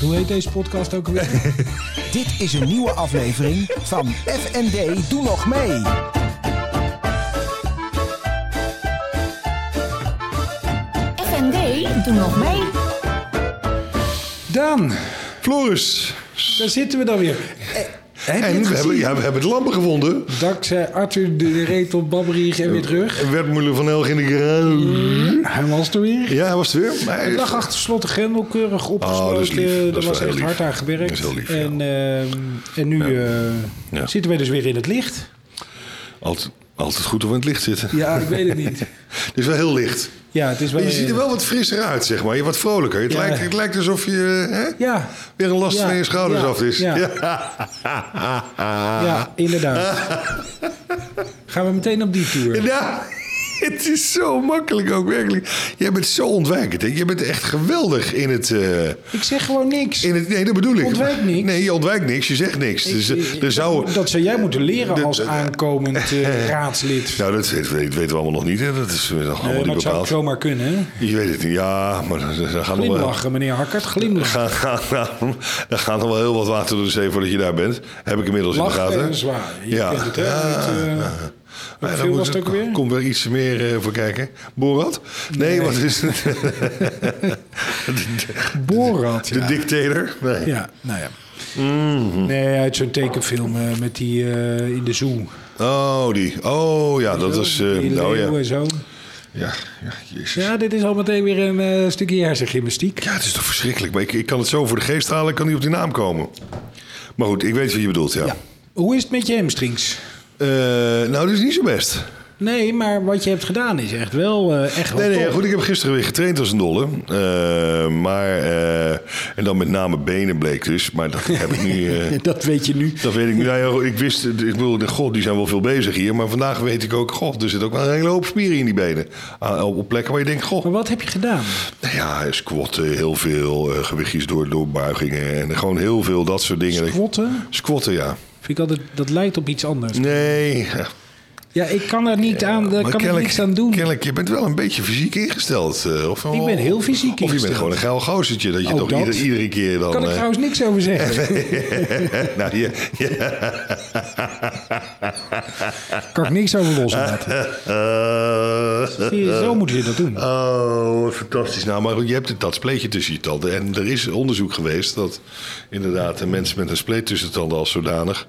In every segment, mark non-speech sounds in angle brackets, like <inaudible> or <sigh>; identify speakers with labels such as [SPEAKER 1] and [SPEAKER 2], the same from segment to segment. [SPEAKER 1] Hoe heet deze podcast ook alweer?
[SPEAKER 2] Dit is een nieuwe aflevering van FND Doe Nog Mee.
[SPEAKER 3] FND, doe nog mee.
[SPEAKER 1] Daan,
[SPEAKER 4] Floris.
[SPEAKER 1] daar zitten we dan weer. Eh, Heb je
[SPEAKER 4] En
[SPEAKER 1] het
[SPEAKER 4] we hebben,
[SPEAKER 1] gezien?
[SPEAKER 4] ja, we hebben de lampen gevonden.
[SPEAKER 1] Dankzij Arthur de Retel, Babberich en weer terug.
[SPEAKER 4] Wertmoeder van Elg in de garage.
[SPEAKER 1] Hij was er weer.
[SPEAKER 4] Ja, hij was het weer. Maar hij-
[SPEAKER 1] Een dag achter slot de grendel keurig opgesproken.
[SPEAKER 4] dat is lief.
[SPEAKER 1] Eh,
[SPEAKER 4] Dat
[SPEAKER 1] Daar
[SPEAKER 4] is
[SPEAKER 1] was
[SPEAKER 4] wel
[SPEAKER 1] echt
[SPEAKER 4] heel
[SPEAKER 1] hard
[SPEAKER 4] lief.
[SPEAKER 1] aan gewerkt.
[SPEAKER 4] Dat is heel lief, ja.
[SPEAKER 1] en, eh, en nu eh,
[SPEAKER 4] Ja.
[SPEAKER 1] zitten we dus weer in het licht.
[SPEAKER 4] Altijd, altijd goed om in het licht zitten.
[SPEAKER 1] Ja, ik weet het niet.
[SPEAKER 4] <laughs> Het is wel heel licht.
[SPEAKER 1] Ja, het is wel...
[SPEAKER 4] Maar je ziet er wel wat frisser uit, zeg maar. Je wat vrolijker. Het,
[SPEAKER 1] Ja.
[SPEAKER 4] lijkt, het lijkt alsof je hè,
[SPEAKER 1] Ja.
[SPEAKER 4] weer een last
[SPEAKER 1] Ja.
[SPEAKER 4] van je schouders
[SPEAKER 1] Ja.
[SPEAKER 4] af is.
[SPEAKER 1] Ja.
[SPEAKER 4] Ja.
[SPEAKER 1] Ja, inderdaad. Gaan we meteen op die tour.
[SPEAKER 4] <laughs> Ja, het is zo makkelijk ook, werkelijk. Jij bent zo ontwijkend. Hè? Je bent echt geweldig in het... eh,
[SPEAKER 1] Ik zeg gewoon niks.
[SPEAKER 4] in het nee, dat bedoel ik.
[SPEAKER 1] Ontwijk niks.
[SPEAKER 4] Nee, je ontwijkt niks. Je zegt niks. Dus, eh, er zou,
[SPEAKER 1] Dat zou jij moeten leren
[SPEAKER 4] De-
[SPEAKER 1] als
[SPEAKER 4] de-
[SPEAKER 1] aankomend
[SPEAKER 4] <laughs>
[SPEAKER 1] eh, raadslid.
[SPEAKER 4] Nou, dat, dat weten we allemaal nog niet. Hè. Dat is eh, nog
[SPEAKER 1] Eh,
[SPEAKER 4] allemaal
[SPEAKER 1] maar
[SPEAKER 4] niet
[SPEAKER 1] het zou ook
[SPEAKER 4] bepaald.
[SPEAKER 1] zomaar kunnen. hè?
[SPEAKER 4] Je weet het niet. Ja, maar dan- dan gaan nog wel...
[SPEAKER 1] Glimlachen, meneer Hakkert, glimlachen.
[SPEAKER 4] Gaan, gaan, gaan, er gaat nog wel heel wat water door de zee voordat je daar bent. Heb ik inmiddels in de
[SPEAKER 1] Lachen
[SPEAKER 4] gaten.
[SPEAKER 1] en zwaar. Je
[SPEAKER 4] Ja.
[SPEAKER 1] kent het, hè?
[SPEAKER 4] Ah,
[SPEAKER 1] Met, eh,
[SPEAKER 4] Maar
[SPEAKER 1] hoeveel
[SPEAKER 4] dan moet-
[SPEAKER 1] was het ook weer?
[SPEAKER 4] Komt weer iets meer eh, voor kijken. Borat? Nee, wat
[SPEAKER 1] <laughs>
[SPEAKER 4] is het?
[SPEAKER 1] Borat,
[SPEAKER 4] De Mhm.
[SPEAKER 1] ja.
[SPEAKER 4] dictator? Nee.
[SPEAKER 1] Ja, nou ja. Nee, uit zo'n tekenfilm eh, met die eh, in de zoo.
[SPEAKER 4] Oh, die. Oh, ja, dat was... eh,
[SPEAKER 1] Die
[SPEAKER 4] nou
[SPEAKER 1] leeuw
[SPEAKER 4] ja.
[SPEAKER 1] en zo.
[SPEAKER 4] Ja, ja, jezus.
[SPEAKER 1] Ja, dit is al meteen weer een eh, stukje hersengymnastiek.
[SPEAKER 4] Ja, het is toch verschrikkelijk. Maar ik, ik kan het zo voor de geest halen. Ik kan niet op die naam komen. Maar goed, ik weet wat je bedoelt, ja.
[SPEAKER 1] Ja. Hoe is het met je hamstrings?
[SPEAKER 4] Eh, nou, dat is niet zo best.
[SPEAKER 1] Nee, maar wat je hebt gedaan is echt wel eh, echt wel
[SPEAKER 4] Nee, nee,
[SPEAKER 1] top.
[SPEAKER 4] goed. Ik heb gisteren weer getraind als een dolle. Eh, maar, eh, en dan met name benen bleek dus. Maar dat heb ik
[SPEAKER 1] <laughs>
[SPEAKER 4] nu... eh,
[SPEAKER 1] Dat weet je nu.
[SPEAKER 4] dat weet ik nu. Nou ja, goed, ik wist, ik bedoel, de god, die zijn wel veel bezig hier. Maar vandaag weet ik ook, god, er zit ook wel een hele hoop spieren in die benen. Ah, op op plekken waar je denkt, god,
[SPEAKER 1] Maar wat heb je gedaan?
[SPEAKER 4] nou ja, squatten, heel veel, eh, gewichtjes door, doorbuigingen. En gewoon heel veel dat soort dingen.
[SPEAKER 1] Squatten?
[SPEAKER 4] Squatten, ja.
[SPEAKER 1] Vind ik altijd, dat lijkt op iets anders.
[SPEAKER 4] Nee, eh,
[SPEAKER 1] Ja, ik kan er niet aan, daar
[SPEAKER 4] maar
[SPEAKER 1] kan ik
[SPEAKER 4] kennelijk-
[SPEAKER 1] niks aan doen.
[SPEAKER 4] Kennelijk, je bent wel een beetje fysiek ingesteld. eh, Of,
[SPEAKER 1] Ik ben heel fysiek
[SPEAKER 4] Of je
[SPEAKER 1] ingesteld.
[SPEAKER 4] bent gewoon een geil gozertje. Dat je
[SPEAKER 1] Ook
[SPEAKER 4] toch
[SPEAKER 1] dat.
[SPEAKER 4] ieder- iedere keer dan...
[SPEAKER 1] kan ik
[SPEAKER 4] eh,
[SPEAKER 1] trouwens niks over
[SPEAKER 4] <laughs>
[SPEAKER 1] zeggen.
[SPEAKER 4] nou, <laughs> ja, ja.
[SPEAKER 1] kan ik niks over loslaten.
[SPEAKER 4] Eh,
[SPEAKER 1] Zie je, Zo moet je dat doen.
[SPEAKER 4] Oh, wat fantastisch. Nou, maar goed, je hebt het- dat spleetje tussen je tanden. En er is onderzoek geweest dat inderdaad eh, mensen met een spleet tussen de tanden als zodanig...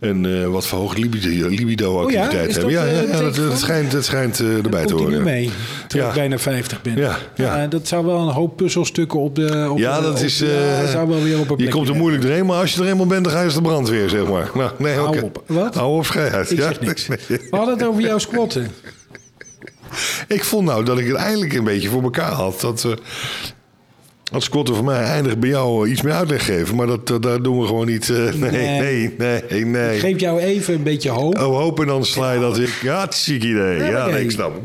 [SPEAKER 4] een eh, wat verhoogd libido- libido-activiteit
[SPEAKER 1] Oh ja? Is dat,
[SPEAKER 4] hebben. ja, ja,
[SPEAKER 1] eh,
[SPEAKER 4] ja, dat,
[SPEAKER 1] teken
[SPEAKER 4] dat
[SPEAKER 1] van?
[SPEAKER 4] schijnt, dat schijnt eh, erbij te
[SPEAKER 1] Komt hij
[SPEAKER 4] horen.
[SPEAKER 1] nu mee, terwijl ik
[SPEAKER 4] Ja.
[SPEAKER 1] bijna 50 ben.
[SPEAKER 4] Ja, ja.
[SPEAKER 1] Eh, dat zou wel een hoop puzzelstukken op de... Op
[SPEAKER 4] Ja,
[SPEAKER 1] de-
[SPEAKER 4] dat
[SPEAKER 1] op-
[SPEAKER 4] is.
[SPEAKER 1] ja,
[SPEAKER 4] eh,
[SPEAKER 1] zou wel weer op een plekje
[SPEAKER 4] je komt er
[SPEAKER 1] hebben.
[SPEAKER 4] moeilijk doorheen, maar als je er eenmaal bent, dan ga je als de brandweer, zeg maar. Nou, nee,
[SPEAKER 1] Hou
[SPEAKER 4] oké.
[SPEAKER 1] op. Wat?
[SPEAKER 4] Hou op, schei uit.
[SPEAKER 1] Ik
[SPEAKER 4] ja?
[SPEAKER 1] zeg niks.
[SPEAKER 4] <laughs> Nee.
[SPEAKER 1] We hadden het over jouw squatten.
[SPEAKER 4] Ik vond nou dat ik het eindelijk een beetje voor elkaar had. Dat, eh dat squatten voor mij eindig bij jou eh, iets meer uitleg geven. Maar dat, dat, daar doen we gewoon niet. eh, <laughs> nee,
[SPEAKER 1] Nee.
[SPEAKER 4] nee, nee, nee.
[SPEAKER 1] Geef jou even een beetje hoop.
[SPEAKER 4] Oh, hoop en dan sla je dat weer. Ja, het is een ziek idee. Ja,
[SPEAKER 1] maar nee.
[SPEAKER 4] nee, ik snap hem.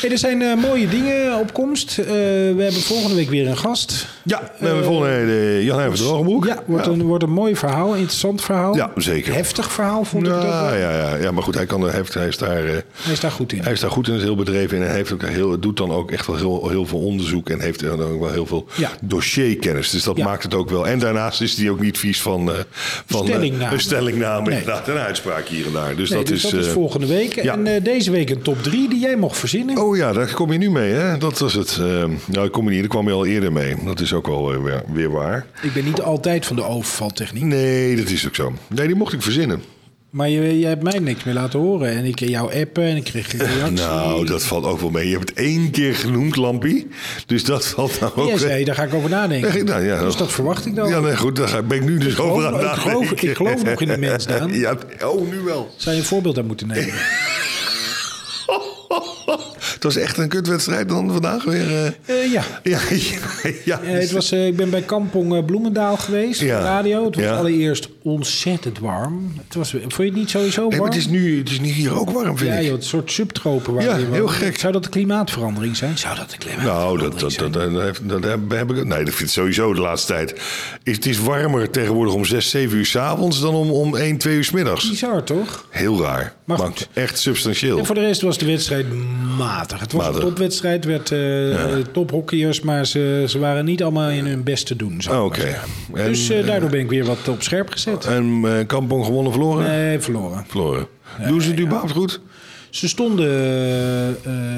[SPEAKER 1] Hey, er zijn eh, mooie dingen op komst. Eh, we hebben volgende week weer een gast.
[SPEAKER 4] Ja, we hebben volgende eh, Jan Heijver Drogenbroek.
[SPEAKER 1] Ja, wordt, Een, wordt een mooi verhaal, interessant verhaal.
[SPEAKER 4] Ja, zeker.
[SPEAKER 1] Heftig verhaal vond ik dat. wel.
[SPEAKER 4] Ja, ja, ja, ja, maar goed, hij, kan, er- hij, heeft, hij is daar... eh,
[SPEAKER 1] Hij is daar goed in.
[SPEAKER 4] Hij is daar goed in, is heel bedreven in. En hij heeft ook heel, doet dan ook echt wel heel, heel veel onderzoek. En heeft dan ook wel heel veel
[SPEAKER 1] Ja.
[SPEAKER 4] dossierkennis. Dus dat
[SPEAKER 1] Ja.
[SPEAKER 4] maakt het ook wel. En daarnaast is hij ook niet vies van, eh, van eh,
[SPEAKER 1] Stellingname.
[SPEAKER 4] een stellingname.
[SPEAKER 1] Nee.
[SPEAKER 4] Inderdaad, een uitspraak hier en daar. Dus,
[SPEAKER 1] Nee,
[SPEAKER 4] dat,
[SPEAKER 1] dus
[SPEAKER 4] is,
[SPEAKER 1] dat is
[SPEAKER 4] eh,
[SPEAKER 1] volgende week.
[SPEAKER 4] ja.
[SPEAKER 1] En eh, deze week een top 3 die jij mocht verzinnen.
[SPEAKER 4] Oh ja, daar kom je nu mee, hè? Dat was het. eh nou, daar kom je niet. Daar kwam je al eerder mee. Dat is ook wel eh, weer, weer waar.
[SPEAKER 1] Ik ben niet altijd van de overvaltechniek.
[SPEAKER 4] Nee, dat is ook zo. Nee, die mocht ik verzinnen.
[SPEAKER 1] Maar je, je hebt mij niks meer laten horen. En ik kreeg jou appen en ik kreeg
[SPEAKER 4] <laughs>
[SPEAKER 1] geen reactie.
[SPEAKER 4] Nou, dat valt ook wel mee. Je hebt het één keer genoemd, Lampie. Dus dat valt nou ook...
[SPEAKER 1] Jij
[SPEAKER 4] eh,
[SPEAKER 1] zei, daar ga ik over nadenken.
[SPEAKER 4] Eh, nou ja,
[SPEAKER 1] dus dat verwacht ik dan.
[SPEAKER 4] Ja, nee, goed, daar ben ik nu dus over aan
[SPEAKER 1] geloof-
[SPEAKER 4] het
[SPEAKER 1] ik geloof-
[SPEAKER 4] nadenken.
[SPEAKER 1] ik geloof nog in de
[SPEAKER 4] <laughs>
[SPEAKER 1] mens, Daan.
[SPEAKER 4] Ja, oh, nu wel.
[SPEAKER 1] Zou je een voorbeeld aan moeten nemen?
[SPEAKER 4] Het was echt een kutwedstrijd dan vandaag weer. eh.
[SPEAKER 1] Eh, ja.
[SPEAKER 4] ja, <laughs> ja,
[SPEAKER 1] Eh, het was, eh, ik ben bij Kampong eh, Bloemendaal geweest,
[SPEAKER 4] Ja.
[SPEAKER 1] op de radio. Het was
[SPEAKER 4] Ja.
[SPEAKER 1] allereerst ontzettend warm. Het was, eh, vond je het niet sowieso warm?
[SPEAKER 4] Nee, maar het is nu het is nu hier ook warm, vind
[SPEAKER 1] ja,
[SPEAKER 4] ik.
[SPEAKER 1] joh, het soort subtropen waar
[SPEAKER 4] Ja,
[SPEAKER 1] je woont.
[SPEAKER 4] heel gek.
[SPEAKER 1] Zou dat de klimaatverandering zijn? Zou dat de klimaatverandering
[SPEAKER 4] Nou, dat, dat,
[SPEAKER 1] zijn?
[SPEAKER 4] dat, dat, heeft- dat heb, heb ik. Nee, dat vind ik sowieso de laatste tijd. Is- Het is warmer tegenwoordig om 6, 7 uur s'avonds dan om, om 1, 2 uur 's middags.
[SPEAKER 1] Bizar, toch?
[SPEAKER 4] Heel raar.
[SPEAKER 1] Maar
[SPEAKER 4] Maar,
[SPEAKER 1] goed.
[SPEAKER 4] echt substantieel.
[SPEAKER 1] En voor de rest was de wedstrijd matig. matig. Het was
[SPEAKER 4] Matig.
[SPEAKER 1] een topwedstrijd, werd eh, tophockeyers, maar ze, ze waren niet allemaal in hun best te doen. zou ik
[SPEAKER 4] Ah,
[SPEAKER 1] maar
[SPEAKER 4] Oké.
[SPEAKER 1] zeggen.
[SPEAKER 4] En,
[SPEAKER 1] Dus eh, daardoor ben ik weer wat op scherp gezet.
[SPEAKER 4] En eh, Kampong gewonnen, verloren?
[SPEAKER 1] Nee, verloren.
[SPEAKER 4] Verloren. Doen ze het überhaupt goed?
[SPEAKER 1] Ze stonden eh, eh,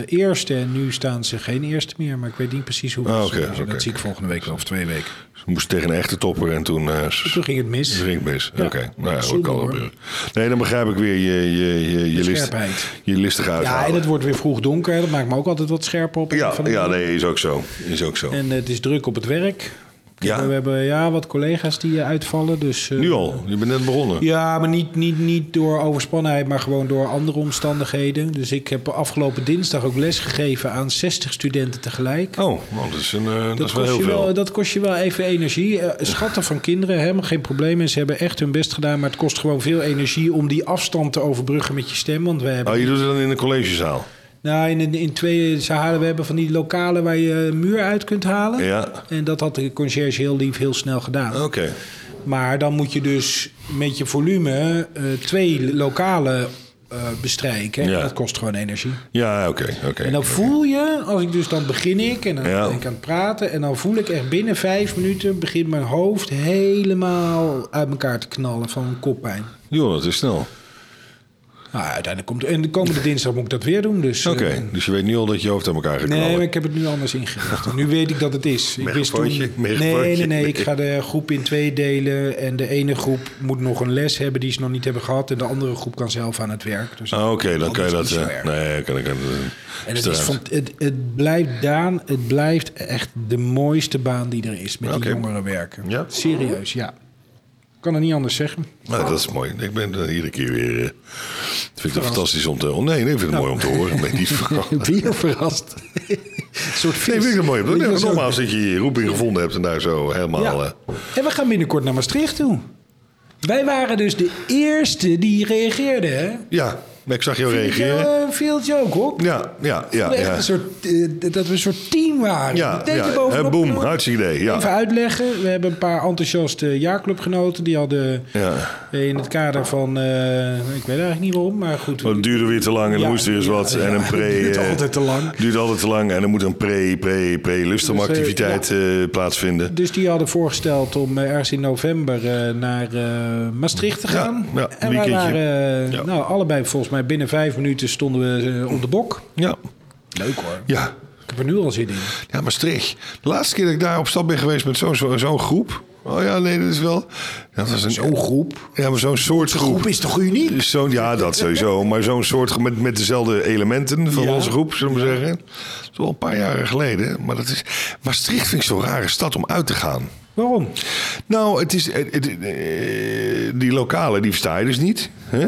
[SPEAKER 1] eerste en nu staan ze geen eerste meer. Maar ik weet niet precies hoe.
[SPEAKER 4] Ah,
[SPEAKER 1] ze-
[SPEAKER 4] oké,
[SPEAKER 1] dat
[SPEAKER 4] oké,
[SPEAKER 1] zie ik volgende week wel, of twee weken.
[SPEAKER 4] Ze moesten tegen een echte topper en toen... eh, ze-
[SPEAKER 1] Toen ging het mis.
[SPEAKER 4] Drink mis.
[SPEAKER 1] Ja.
[SPEAKER 4] Oké, nou ja, dat
[SPEAKER 1] Zonde,
[SPEAKER 4] kan wel
[SPEAKER 1] hoor.
[SPEAKER 4] gebeuren. Nee, dan begrijp ik weer je, je, je, je, list,
[SPEAKER 1] scherpheid.
[SPEAKER 4] je listig
[SPEAKER 1] Ja,
[SPEAKER 4] uithalen.
[SPEAKER 1] en het wordt weer vroeg donker. Dat maakt me ook altijd wat scherper op.
[SPEAKER 4] ja,
[SPEAKER 1] Van de-
[SPEAKER 4] ja, nee, is ook zo. Is ook zo.
[SPEAKER 1] En het is druk op het werk.
[SPEAKER 4] Ja.
[SPEAKER 1] We hebben ja, wat collega's die eh, uitvallen. Dus, eh,
[SPEAKER 4] nu al, je bent net begonnen.
[SPEAKER 1] Ja, maar niet, niet, niet door overspannenheid, maar gewoon door andere omstandigheden. Dus ik heb afgelopen dinsdag ook les gegeven aan 60 studenten tegelijk.
[SPEAKER 4] Oh, nou, dat is, een, eh, dat is wel
[SPEAKER 1] kost
[SPEAKER 4] heel
[SPEAKER 1] je
[SPEAKER 4] veel.
[SPEAKER 1] dat kost je wel even energie. Eh, Schatten van kinderen, helemaal geen probleem. En ze hebben echt hun best gedaan. Maar het kost gewoon veel energie om die afstand te overbruggen met je stem. Want we hebben
[SPEAKER 4] Oh, je doet het dan in een collegezaal?
[SPEAKER 1] nou, in, in twee ze halen, we hebben van die lokalen waar je een muur uit kunt halen.
[SPEAKER 4] Ja.
[SPEAKER 1] En dat had de conciërge heel lief heel snel gedaan.
[SPEAKER 4] Ah, Oké.
[SPEAKER 1] Maar dan moet je dus met je volume eh, twee lokalen eh, bestrijken.
[SPEAKER 4] Ja.
[SPEAKER 1] Dat kost gewoon energie.
[SPEAKER 4] Ja, oké, oké.
[SPEAKER 1] En dan voel je, als ik dus dan begin ik en dan
[SPEAKER 4] Ja.
[SPEAKER 1] ben ik aan het praten. En dan voel ik echt binnen vijf minuten begint mijn hoofd helemaal uit elkaar te knallen van koppijn.
[SPEAKER 4] Joh, dat is snel.
[SPEAKER 1] Nou, uiteindelijk komt En de komende dinsdag moet ik dat weer doen. Dus, eh,
[SPEAKER 4] Oké, dus je weet nu al dat je hoofd aan elkaar gaat
[SPEAKER 1] Nee,
[SPEAKER 4] knallen.
[SPEAKER 1] maar ik heb het nu anders ingericht. Nu weet ik dat het is. Ik wist toen,
[SPEAKER 4] Megafoontje,
[SPEAKER 1] nee, nee,
[SPEAKER 4] megafoontje.
[SPEAKER 1] nee. Ik ga de groep in twee delen. En de ene groep moet nog een les hebben die ze nog niet hebben gehad. En de andere groep kan zelf aan het werk. Dus
[SPEAKER 4] Ah, Oké, dan kan je dat...
[SPEAKER 1] Anders is het
[SPEAKER 4] eh,
[SPEAKER 1] niet zo
[SPEAKER 4] nee, kan ik...
[SPEAKER 1] en het, is van, het, het blijft Daan, het blijft echt de mooiste baan die er is. Met
[SPEAKER 4] Oké.
[SPEAKER 1] die jongeren werken.
[SPEAKER 4] Ja?
[SPEAKER 1] Serieus, ja. Ik kan het niet anders
[SPEAKER 4] <laughs>
[SPEAKER 1] zeggen.
[SPEAKER 4] Nou, dat is mooi. Ik ben er iedere keer weer. eh, vind ik dat fantastisch om te horen. Nee, nee, ik vind het mooi om te horen. Nee,
[SPEAKER 1] <laughs>
[SPEAKER 4] niet verrast.
[SPEAKER 1] Weer
[SPEAKER 4] <laughs>
[SPEAKER 1] verrast. een soort vis.
[SPEAKER 4] Nee, vind ik het mooi.
[SPEAKER 1] Weet je wel,
[SPEAKER 4] Nee,
[SPEAKER 1] zo-
[SPEAKER 4] nogmaals dat je je roeping gevonden hebt en daar zo helemaal. eh,
[SPEAKER 1] Ja. En we gaan binnenkort naar Maastricht toe. Wij waren dus de eerste die reageerde, hè?
[SPEAKER 4] Ja, maar ik zag jou reageren.
[SPEAKER 1] Ja, Veeltje ook, eh, hoor.
[SPEAKER 4] Ja, ja, ja.
[SPEAKER 1] Echt
[SPEAKER 4] Ja,
[SPEAKER 1] een soort, eh, dat we een soort team waren.
[SPEAKER 4] ja,
[SPEAKER 1] Meteen
[SPEAKER 4] ja.
[SPEAKER 1] erbovenop.
[SPEAKER 4] Eh, boom, hartstikke idee.
[SPEAKER 1] Even
[SPEAKER 4] Ja.
[SPEAKER 1] uitleggen. We hebben een paar enthousiaste jaarclubgenoten. Die hadden
[SPEAKER 4] ja.
[SPEAKER 1] eh, in het kader van... eh, ik weet eigenlijk niet waarom, maar goed.
[SPEAKER 4] Maar het duurde weer te lang en dan
[SPEAKER 1] Ja,
[SPEAKER 4] moest weer eens
[SPEAKER 1] ja,
[SPEAKER 4] wat.
[SPEAKER 1] ja.
[SPEAKER 4] en
[SPEAKER 1] <laughs>
[SPEAKER 4] een pre.
[SPEAKER 1] Het duurt
[SPEAKER 4] eh,
[SPEAKER 1] altijd te lang. eh,
[SPEAKER 4] duurt altijd te lang en dan moet een pre, pre, pre lustomactiviteit eh, plaatsvinden.
[SPEAKER 1] Dus die hadden voorgesteld om eh, ergens in november eh, naar eh, Maastricht te
[SPEAKER 4] Ja,
[SPEAKER 1] gaan.
[SPEAKER 4] ja,
[SPEAKER 1] en wij
[SPEAKER 4] weekendje.
[SPEAKER 1] waren eh,
[SPEAKER 4] Ja.
[SPEAKER 1] nou, allebei volgens mij binnen vijf minuten stonden we eh, op de bok.
[SPEAKER 4] Ja.
[SPEAKER 1] Leuk hoor.
[SPEAKER 4] Ja.
[SPEAKER 1] Ik heb er nu al zin in.
[SPEAKER 4] Ja, Maastricht. De laatste keer dat ik daar op stap ben geweest met zo'n zo, zo'n groep. Oh ja, nee, dat is wel. Dat was een, zo'n groep? Ja, maar zo'n soort groep.
[SPEAKER 1] is toch uniek?
[SPEAKER 4] Dus zo'n- ja, dat sowieso. Maar zo'n soort groep met, met dezelfde elementen van
[SPEAKER 1] Ja.
[SPEAKER 4] onze groep, zullen we zeggen. Dat is wel een paar jaren geleden. Maar dat is, Maastricht vind ik zo'n rare stad om uit te gaan.
[SPEAKER 1] Waarom?
[SPEAKER 4] Nou, het is, het- het- eh, die lokalen, die versta je dus niet. Hè?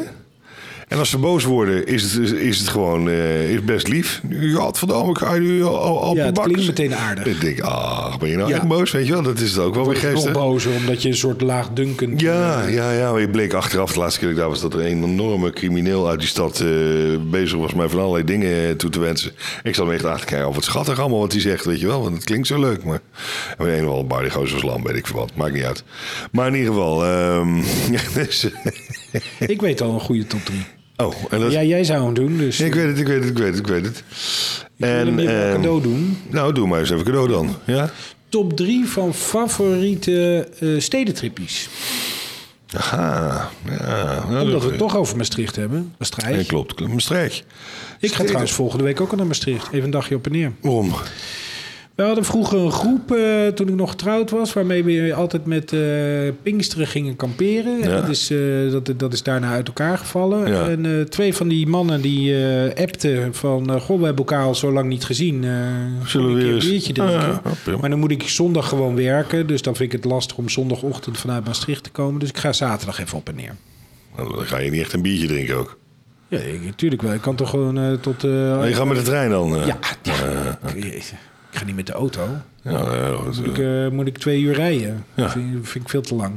[SPEAKER 4] En als ze boos worden, is het, is het gewoon eh, is best lief. Ja, het verdomme, ik ga je al, al, al
[SPEAKER 1] Ja, het
[SPEAKER 4] bak.
[SPEAKER 1] klinkt meteen aardig.
[SPEAKER 4] Ik denk, ah, ben je nou
[SPEAKER 1] Ja.
[SPEAKER 4] echt boos? Weet je wel, dat is het ook wel weer
[SPEAKER 1] Nog
[SPEAKER 4] geestig.
[SPEAKER 1] bozer omdat je een soort laagdunkend...
[SPEAKER 4] Ja, ja, ja. Maar ik bleek achteraf, de laatste keer dat ik daar was, dat er een enorme crimineel uit die stad eh, bezig was mij van allerlei dingen eh, toe te wensen. Ik zat me echt aan te kijken of het schattig allemaal wat hij zegt, weet je wel. Want het klinkt zo leuk, maar... En een of andere bar die gozer was lam, weet ik veel wat. Maakt niet uit. Maar in ieder geval... ehm, <laughs> ja, dus-
[SPEAKER 1] eh, Ik weet al een goede top 3.
[SPEAKER 4] oh, en dat...
[SPEAKER 1] Ja, jij zou hem doen, dus
[SPEAKER 4] Ik weet het, ik weet het, ik weet het, ik weet het.
[SPEAKER 1] wil hem
[SPEAKER 4] En,
[SPEAKER 1] even een
[SPEAKER 4] ehm,
[SPEAKER 1] cadeau doen.
[SPEAKER 4] nou, doe maar eens even cadeau dan. Ja?
[SPEAKER 1] Top 3 van favoriete eh stedentrippies.
[SPEAKER 4] Aha. Ja, nou,
[SPEAKER 1] Omdat we
[SPEAKER 4] dat-
[SPEAKER 1] het toch over Maastricht hebben. Maastricht.
[SPEAKER 4] Nee, klopt. klopt. Maastricht.
[SPEAKER 1] ik ga trouwens volgende week ook al naar Maastricht. Even een dagje op en neer.
[SPEAKER 4] Waarom?
[SPEAKER 1] We hadden vroeger een groep, eh, toen ik nog getrouwd was, waarmee we altijd met eh, Pinksteren gingen kamperen. En
[SPEAKER 4] Ja.
[SPEAKER 1] Dat, is, eh, dat, dat is daarna uit elkaar gevallen.
[SPEAKER 4] Ja.
[SPEAKER 1] En eh, twee van die mannen die eh, appten van, eh, goh, we hebben elkaar al zo lang niet gezien. eh,
[SPEAKER 4] Zullen we
[SPEAKER 1] een keer
[SPEAKER 4] weer
[SPEAKER 1] een
[SPEAKER 4] eens- Ah,
[SPEAKER 1] biertje drinken?
[SPEAKER 4] Ja, ja, prima.
[SPEAKER 1] maar dan moet ik zondag gewoon werken, dus dan vind ik het lastig om zondagochtend vanuit Maastricht te komen. Dus ik ga zaterdag even op en neer.
[SPEAKER 4] Nou, Dan ga je niet echt een biertje drinken ook.
[SPEAKER 1] Ja, natuurlijk wel. Ik kan toch gewoon eh, tot... eh,
[SPEAKER 4] Maar Oh, je gaat met de trein dan? eh?
[SPEAKER 1] ja, ja. Ik ga niet met de auto.
[SPEAKER 4] Ja, ja, goed,
[SPEAKER 1] Ik,
[SPEAKER 4] eh,
[SPEAKER 1] eh, moet ik twee uur rijden?
[SPEAKER 4] Ja.
[SPEAKER 1] Vind, vind ik veel te lang.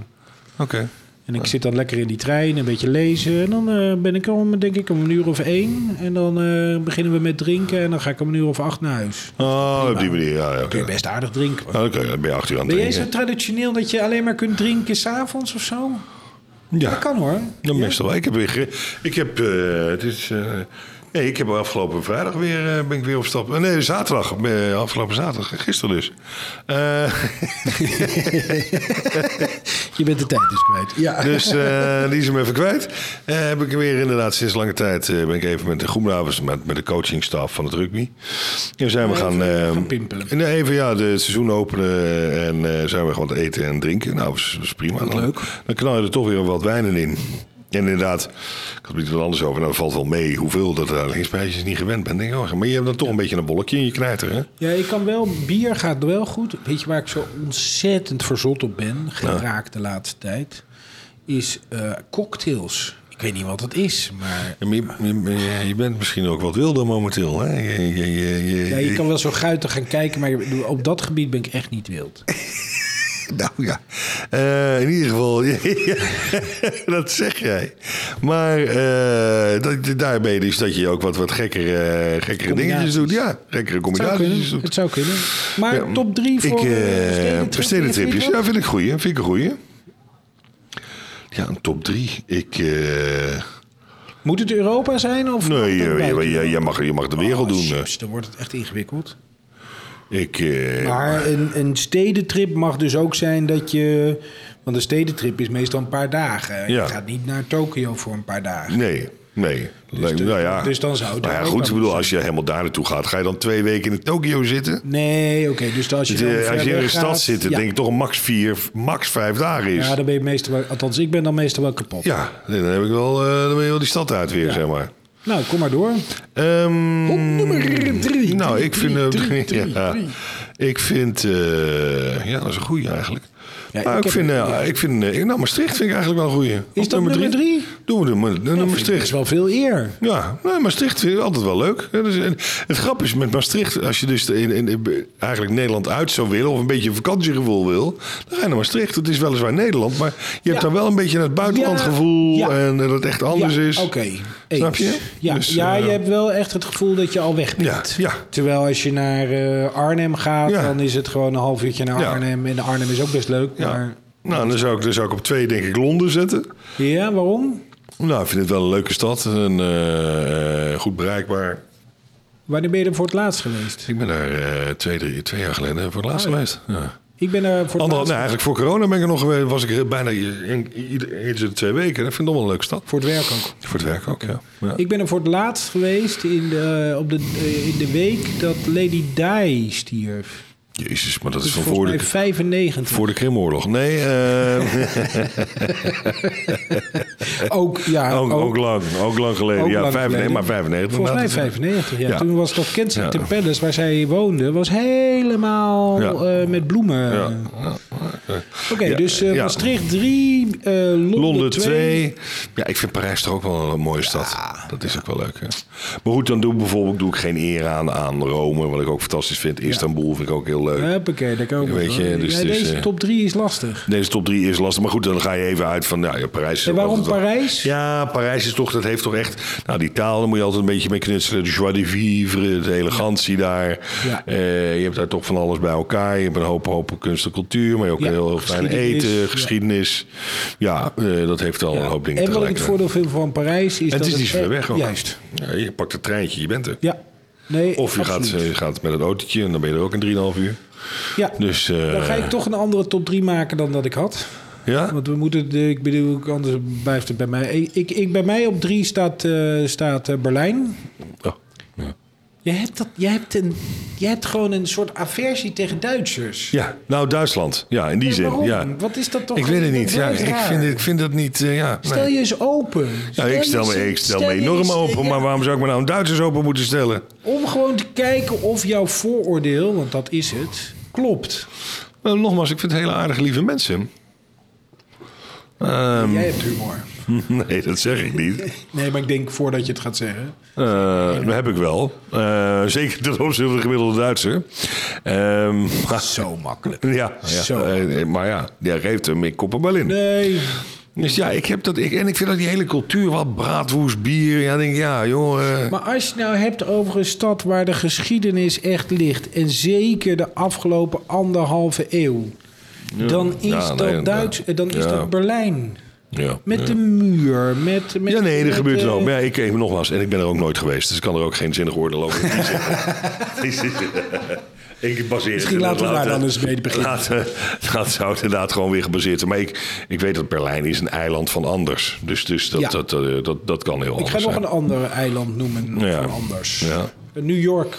[SPEAKER 4] Oké.
[SPEAKER 1] En ik zit dan lekker in die trein, een beetje lezen. En dan eh, ben ik er om, denk ik, om een uur of één. En dan eh, beginnen we met drinken. En dan ga ik om een uur of acht naar huis.
[SPEAKER 4] Oh, op die manier. Ja, ja, oké.
[SPEAKER 1] Kun je best aardig drinken. hoor.
[SPEAKER 4] Oké, dan ben je acht uur aan
[SPEAKER 1] Nou.
[SPEAKER 4] het
[SPEAKER 1] Ben jij zo
[SPEAKER 4] drinken.
[SPEAKER 1] traditioneel dat je alleen maar kunt drinken s'avonds of zo?
[SPEAKER 4] Ja,
[SPEAKER 1] Dat kan hoor.
[SPEAKER 4] Ja, meestal wel. Ik heb, weer ge- ik heb eh, het is, eh, Nee, ik heb afgelopen vrijdag weer, eh, ben ik weer op stap. eh, Nee, zaterdag. eh, Afgelopen zaterdag, gisteren dus. Eh,
[SPEAKER 1] Je bent de tijd dus kwijt. Ja.
[SPEAKER 4] dus eh, die is hem even kwijt. Eh, heb ik weer inderdaad sinds lange tijd... eh, ben ik even met de Groenavonds, met, met de coachingstaf van het rugby. En zijn we gaan... eh,
[SPEAKER 1] gaan pimpelen.
[SPEAKER 4] en even ja, de, het seizoen openen en eh, zijn we gewoon wat eten en drinken. Nou, is, is prima. Dan,
[SPEAKER 3] leuk.
[SPEAKER 4] Dan knal je er toch weer wat wijnen in. En inderdaad, ik had het niet wat anders over. Nou, dat valt wel mee hoeveel dat er geen spijsjes niet gewend bent. Denk, ik, oh, maar je hebt dan toch een beetje een bolletje in je knijter, hè?
[SPEAKER 1] Ja, ik kan wel. Bier gaat wel goed. Weet je waar ik zo ontzettend verzot op ben geraakt de laatste tijd? Is eh, cocktails. Ik weet niet wat dat is, maar.
[SPEAKER 4] Ja, maar Je, je- je- je bent misschien ook wat wilder momenteel, hè? Je, je, je- je-
[SPEAKER 1] Ja, je kan wel zo guitig gaan kijken, maar op dat gebied ben ik echt niet wild.
[SPEAKER 4] Nou ja, Eh, in ieder geval, <laughs> dat zeg jij. Maar eh, dat, daarmee is dat je ook wat, wat gekkere, gekkere dingetjes doet. Ja, gekkere
[SPEAKER 1] Het zou kunnen.
[SPEAKER 4] combinaties doet.
[SPEAKER 1] Het zou kunnen. Maar
[SPEAKER 4] dus Ja,
[SPEAKER 1] top drie voor
[SPEAKER 4] ik, eh,
[SPEAKER 1] stedentripjes,
[SPEAKER 4] stedentripjes.
[SPEAKER 1] vind je
[SPEAKER 4] Ja,
[SPEAKER 1] dat?
[SPEAKER 4] vind ik goeie. Vind ik een goeie. Ja, een top drie. Ik... eh,
[SPEAKER 1] Moet het Europa zijn? Of
[SPEAKER 4] nee,
[SPEAKER 1] of
[SPEAKER 4] je,
[SPEAKER 1] buiten?
[SPEAKER 4] je, je, mag, je mag de wereld
[SPEAKER 1] Oh,
[SPEAKER 4] doen. eh.
[SPEAKER 1] jezus, dan wordt het echt ingewikkeld.
[SPEAKER 4] Ik... eh,
[SPEAKER 1] Maar een, een stedentrip mag dus ook zijn dat je... Want een stedentrip is meestal een paar dagen.
[SPEAKER 4] Ja.
[SPEAKER 1] Je gaat niet naar Tokio voor een paar dagen.
[SPEAKER 4] Nee, nee. Lijkt-
[SPEAKER 1] de-
[SPEAKER 4] nou ja.
[SPEAKER 1] dus dan zou het
[SPEAKER 4] Maar ja,
[SPEAKER 1] ook
[SPEAKER 4] goed,
[SPEAKER 1] wel
[SPEAKER 4] ik bedoel, als je helemaal daar naartoe gaat, ga je dan twee weken in Tokio zitten?
[SPEAKER 1] Nee, oké. dus als je,
[SPEAKER 4] Dus,
[SPEAKER 1] dan
[SPEAKER 4] eh, als je
[SPEAKER 1] verder
[SPEAKER 4] in de
[SPEAKER 1] gaat-
[SPEAKER 4] stad zit, dan
[SPEAKER 1] ja.
[SPEAKER 4] denk ik toch een max vier, max vijf dagen is.
[SPEAKER 1] Ja,
[SPEAKER 4] Ja,
[SPEAKER 1] dan ben je meestal wel... Althans, ik ben dan meestal wel kapot.
[SPEAKER 4] nee, dan, heb ik wel, eh, dan ben je wel die stad uit weer, zeg maar.
[SPEAKER 1] Nou, kom maar door.
[SPEAKER 4] Ehm,
[SPEAKER 1] Op nummer drie.
[SPEAKER 4] Nou,
[SPEAKER 1] Drie,
[SPEAKER 4] ik vind... eh,
[SPEAKER 1] drie, drie, drie,
[SPEAKER 4] <laughs> ja,
[SPEAKER 1] drie.
[SPEAKER 4] Ik vind... eh, ja, dat is een goeie eigenlijk.
[SPEAKER 1] Ja,
[SPEAKER 4] maar
[SPEAKER 1] ik
[SPEAKER 4] ik,
[SPEAKER 1] heb-
[SPEAKER 4] vind, eh, ik vind... eh, nou, Maastricht vind ik eigenlijk wel een goeie.
[SPEAKER 1] Is
[SPEAKER 4] Op
[SPEAKER 1] dat nummer drie?
[SPEAKER 4] Doen we de, nummer- de nummer
[SPEAKER 1] Dat is
[SPEAKER 4] Maastricht.
[SPEAKER 1] wel veel eer.
[SPEAKER 4] Ja, nou, Maastricht vind ik altijd wel leuk. Ja, dus, en het grap is met Maastricht, als je dus in, in, in- eigenlijk Nederland uit zou willen... of een beetje een vakantiegevoel wil, dan ga je naar Maastricht. Het is weliswaar Nederland, maar je hebt
[SPEAKER 1] Ja.
[SPEAKER 4] dan wel een beetje het buitenlandgevoel...
[SPEAKER 1] Ja. Ja.
[SPEAKER 4] en dat het echt anders
[SPEAKER 1] ja,
[SPEAKER 4] is.
[SPEAKER 1] Oké.
[SPEAKER 4] Snap
[SPEAKER 1] eens.
[SPEAKER 4] je?
[SPEAKER 1] Ja,
[SPEAKER 4] Dus,
[SPEAKER 1] ja
[SPEAKER 4] eh,
[SPEAKER 1] je hebt wel echt het gevoel dat je al weg bent.
[SPEAKER 4] Ja, ja.
[SPEAKER 1] Terwijl als je naar eh, Arnhem gaat,
[SPEAKER 4] Ja.
[SPEAKER 1] dan is het gewoon een half uurtje naar
[SPEAKER 4] Ja.
[SPEAKER 1] Arnhem. En Arnhem is ook best leuk.
[SPEAKER 4] Ja.
[SPEAKER 1] Maar
[SPEAKER 4] Nou, dan zou, ik, dan zou ik op twee denk ik Londen zetten.
[SPEAKER 1] ja, waarom?
[SPEAKER 4] Nou, ik vind het wel een leuke stad en eh, eh, goed bereikbaar.
[SPEAKER 1] Wanneer ben je er voor het laatst geweest?
[SPEAKER 4] Ik ben daar eh, twee, drie, twee jaar geleden voor het
[SPEAKER 1] Oh,
[SPEAKER 4] laatst geweest. Ja.
[SPEAKER 1] Ik ben er voor het
[SPEAKER 4] Anderhal-
[SPEAKER 1] laatst
[SPEAKER 4] nou, eigenlijk voor corona ben ik er nog geweest. Was ik er bijna i- in- ieder- eens in de twee weken. Dat vind ik nog wel een leuke stad.
[SPEAKER 1] voor het werk ook.
[SPEAKER 4] Voor het werk ook, ja. Ja.
[SPEAKER 1] Ik ben er voor het laatst geweest in de, op de, eh, in de week dat Lady Di stierf.
[SPEAKER 4] Jezus, maar dat is
[SPEAKER 1] Dus
[SPEAKER 4] van
[SPEAKER 1] volgens
[SPEAKER 4] voor
[SPEAKER 1] mij
[SPEAKER 4] de,
[SPEAKER 1] 95.
[SPEAKER 4] voor de Krimoorlog. Nee,
[SPEAKER 1] <laughs>
[SPEAKER 4] eh,
[SPEAKER 1] ook, ja,
[SPEAKER 4] ook, ook lang. Ook lang geleden.
[SPEAKER 1] Ook
[SPEAKER 4] ja,
[SPEAKER 1] lang
[SPEAKER 4] vijf- nee,
[SPEAKER 1] geleden.
[SPEAKER 4] maar 95.
[SPEAKER 1] Volgens mij
[SPEAKER 4] inderdaad.
[SPEAKER 1] 95, ja.
[SPEAKER 4] Ja.
[SPEAKER 1] Toen was dat Kensington
[SPEAKER 4] Ja.
[SPEAKER 1] Palace, waar zij woonde, was helemaal
[SPEAKER 4] Ja.
[SPEAKER 1] eh, met bloemen.
[SPEAKER 4] Ja.
[SPEAKER 1] Oké, dus eh,
[SPEAKER 4] ja.
[SPEAKER 1] Maastricht 3, eh Londen
[SPEAKER 4] Londen
[SPEAKER 1] 2.
[SPEAKER 4] 2. Ja, ik vind Parijs toch ook wel een mooie stad. Dat is ook wel leuk. Hè? Maar goed, dan doe ik bijvoorbeeld doe ik geen eer aan aan Rome, wat ik ook fantastisch vind. Istanbul vind ik ook heel leuk.
[SPEAKER 1] Huppakee, daar komen we.
[SPEAKER 4] Weet je,
[SPEAKER 1] hoor.
[SPEAKER 4] dus
[SPEAKER 1] Ja,
[SPEAKER 4] het is,
[SPEAKER 1] deze
[SPEAKER 4] eh,
[SPEAKER 1] top 3 is lastig.
[SPEAKER 4] Deze top 3 is lastig. Maar goed, dan ga je even uit van nou, ja, Parijs. Is
[SPEAKER 1] En
[SPEAKER 4] ook
[SPEAKER 1] waarom
[SPEAKER 4] altijd wel-
[SPEAKER 1] Parijs?
[SPEAKER 4] Ja, Parijs is toch, dat heeft toch echt. Nou, die taal, daar moet je altijd een beetje mee knutselen. De joie de vivre, de elegantie daar.
[SPEAKER 1] Ja.
[SPEAKER 4] Eh, je hebt daar toch van alles bij elkaar. Je hebt een hoop, hoop kunst en cultuur, maar ook
[SPEAKER 1] Ja,
[SPEAKER 4] heel fijn
[SPEAKER 1] geschiedenis, ja.
[SPEAKER 4] eten, geschiedenis. Ja, eh, dat heeft al een hoop dingen
[SPEAKER 1] en wat ik
[SPEAKER 4] tegelijk.
[SPEAKER 1] het voordeel vind van Parijs is
[SPEAKER 4] En
[SPEAKER 1] dat
[SPEAKER 4] het is niet zo ver weg ook.
[SPEAKER 1] Juist.
[SPEAKER 4] Ja, je pakt het treintje, je bent er.
[SPEAKER 1] Ja. Nee,
[SPEAKER 4] Of je gaat,
[SPEAKER 1] absoluut.
[SPEAKER 4] je gaat met het autootje en dan ben je er ook in 3,5 uur.
[SPEAKER 1] ja.
[SPEAKER 4] Dus eh,
[SPEAKER 1] Dan ga ik toch een andere top 3 maken dan dat ik had.
[SPEAKER 4] ja,
[SPEAKER 1] Want we moeten, de- ik bedoel, ook anders blijft het bij mij. Ik, ik, ik- bij mij op 3 staat, eh, staat eh, Berlijn.
[SPEAKER 4] Oh,
[SPEAKER 1] Jij hebt, dat, jij, hebt een, jij hebt gewoon een soort aversie tegen Duitsers.
[SPEAKER 4] ja, nou Duitsland. Ja, in die
[SPEAKER 1] Ja,
[SPEAKER 4] zin.
[SPEAKER 1] waarom?
[SPEAKER 4] Ja.
[SPEAKER 1] Wat is dat toch?
[SPEAKER 4] Ik weet het
[SPEAKER 1] Dat
[SPEAKER 4] niet. Ja,
[SPEAKER 1] blijft
[SPEAKER 4] ik,
[SPEAKER 1] raar.
[SPEAKER 4] vind, het- ik vind dat niet. eh, ja,
[SPEAKER 1] Stel
[SPEAKER 4] nee.
[SPEAKER 1] je eens open.
[SPEAKER 4] ja, ik stel
[SPEAKER 1] je
[SPEAKER 4] me, ik
[SPEAKER 1] eens-
[SPEAKER 4] stel me
[SPEAKER 1] je eens-
[SPEAKER 4] enorm open,
[SPEAKER 1] ja,
[SPEAKER 4] maar waarom zou ik me nou een Duitsers open moeten stellen?
[SPEAKER 1] Om gewoon te kijken of jouw vooroordeel, want dat is het, klopt.
[SPEAKER 4] Nou, nogmaals, ik vind het hele aardige, lieve mensen. Ehm,
[SPEAKER 1] jij hebt humor.
[SPEAKER 4] nee, dat zeg ik niet.
[SPEAKER 1] Nee, maar ik denk voordat je het gaat
[SPEAKER 4] <laughs>
[SPEAKER 1] zeggen.
[SPEAKER 4] Eh, dat heb ik wel. Eh, zeker ten opzichte van de gemiddelde Duitser. Ehm, maar-
[SPEAKER 1] Zo makkelijk.
[SPEAKER 4] Ja, ja.
[SPEAKER 1] Zo.
[SPEAKER 4] Eh, maar ja, die geeft hem, ik kop hem wel in.
[SPEAKER 1] Nee.
[SPEAKER 4] Dus ja, ik heb dat, ik, en ik vind dat die hele cultuur, wat braadwoest, bier. Ja, ik denk ja, joh. eh,
[SPEAKER 1] Maar als je het nou hebt over een stad waar de geschiedenis echt ligt... en zeker de afgelopen anderhalve eeuw... dan is
[SPEAKER 4] Ja, nee,
[SPEAKER 1] dat,
[SPEAKER 4] ja.
[SPEAKER 1] Duits, eh, dan is
[SPEAKER 4] Ja.
[SPEAKER 1] dat Berlijn.
[SPEAKER 4] Ja,
[SPEAKER 1] Met
[SPEAKER 4] ja.
[SPEAKER 1] de muur, met... met
[SPEAKER 4] Ja, nee,
[SPEAKER 1] met,
[SPEAKER 4] er gebeurt het
[SPEAKER 1] eh,
[SPEAKER 4] ook. Maar ja, ik, ik, nogmaals, en ik ben er ook nooit geweest, dus ik kan er ook geen zinnig oordeel over zeggen. <laughs> ik baseer het
[SPEAKER 1] Misschien laten we daar dan eens mee beginnen.
[SPEAKER 4] Laat, eh, dat zou het inderdaad gewoon weer gebaseerd zijn. Maar ik, ik weet dat Berlijn is een eiland van anders. Dus, dus dat,
[SPEAKER 1] Ja.
[SPEAKER 4] dat, eh, dat, dat, kan heel
[SPEAKER 1] Ik
[SPEAKER 4] anders
[SPEAKER 1] ga nog
[SPEAKER 4] zijn.
[SPEAKER 1] een ander eiland noemen,
[SPEAKER 4] Ja.
[SPEAKER 1] van anders.
[SPEAKER 4] Ja.
[SPEAKER 1] New York.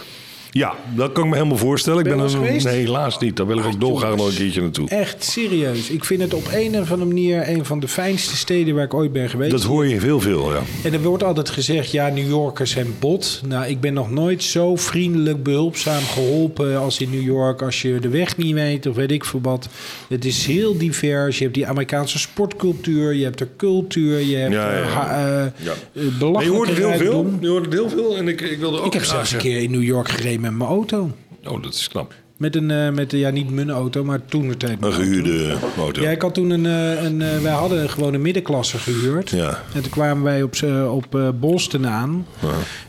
[SPEAKER 4] Ja, dat kan ik me helemaal voorstellen. Ik
[SPEAKER 1] Ben
[SPEAKER 4] ben
[SPEAKER 1] je
[SPEAKER 4] er,
[SPEAKER 1] wel eens
[SPEAKER 4] nee,
[SPEAKER 1] geweest? Ah, Eh,
[SPEAKER 4] helaas niet. Daar wil ik ook dolgraag nog een keertje naartoe.
[SPEAKER 1] Echt serieus. Ik vind het op een of andere manier een van de fijnste steden waar ik ooit ben geweest.
[SPEAKER 4] Dat hoor je heel veel, ja.
[SPEAKER 1] En er wordt altijd gezegd, ja, New Yorkers zijn bot. Nou, ik ben nog nooit zo vriendelijk, behulpzaam geholpen als in New York. Als je de weg niet weet of weet ik veel wat. Het is heel divers. Je hebt die Amerikaanse sportcultuur, je hebt de cultuur, je hebt
[SPEAKER 4] Ja, ja, ja.
[SPEAKER 1] eh, ha- eh,
[SPEAKER 4] Ja.
[SPEAKER 1] eh, belachelijke
[SPEAKER 4] Nee, je hoort het heel veel. Oh,
[SPEAKER 1] rijkdom.
[SPEAKER 4] Je hoort het heel veel. En ik, ik wilde ook
[SPEAKER 1] Ik heb
[SPEAKER 4] graag
[SPEAKER 1] zelfs een
[SPEAKER 4] zeggen-
[SPEAKER 1] keer in New York gereden met mijn auto.
[SPEAKER 4] Oh, dat is knap.
[SPEAKER 1] Met een, eh, met, een- ja, niet mijn auto, maar toen het
[SPEAKER 4] Een gehuurde motor.
[SPEAKER 1] Ja, ik had toen een, eh, een eh, wij hadden gewoon een middenklasse gehuurd.
[SPEAKER 4] Ja.
[SPEAKER 1] En toen kwamen wij op, z'n- op eh, Boston aan.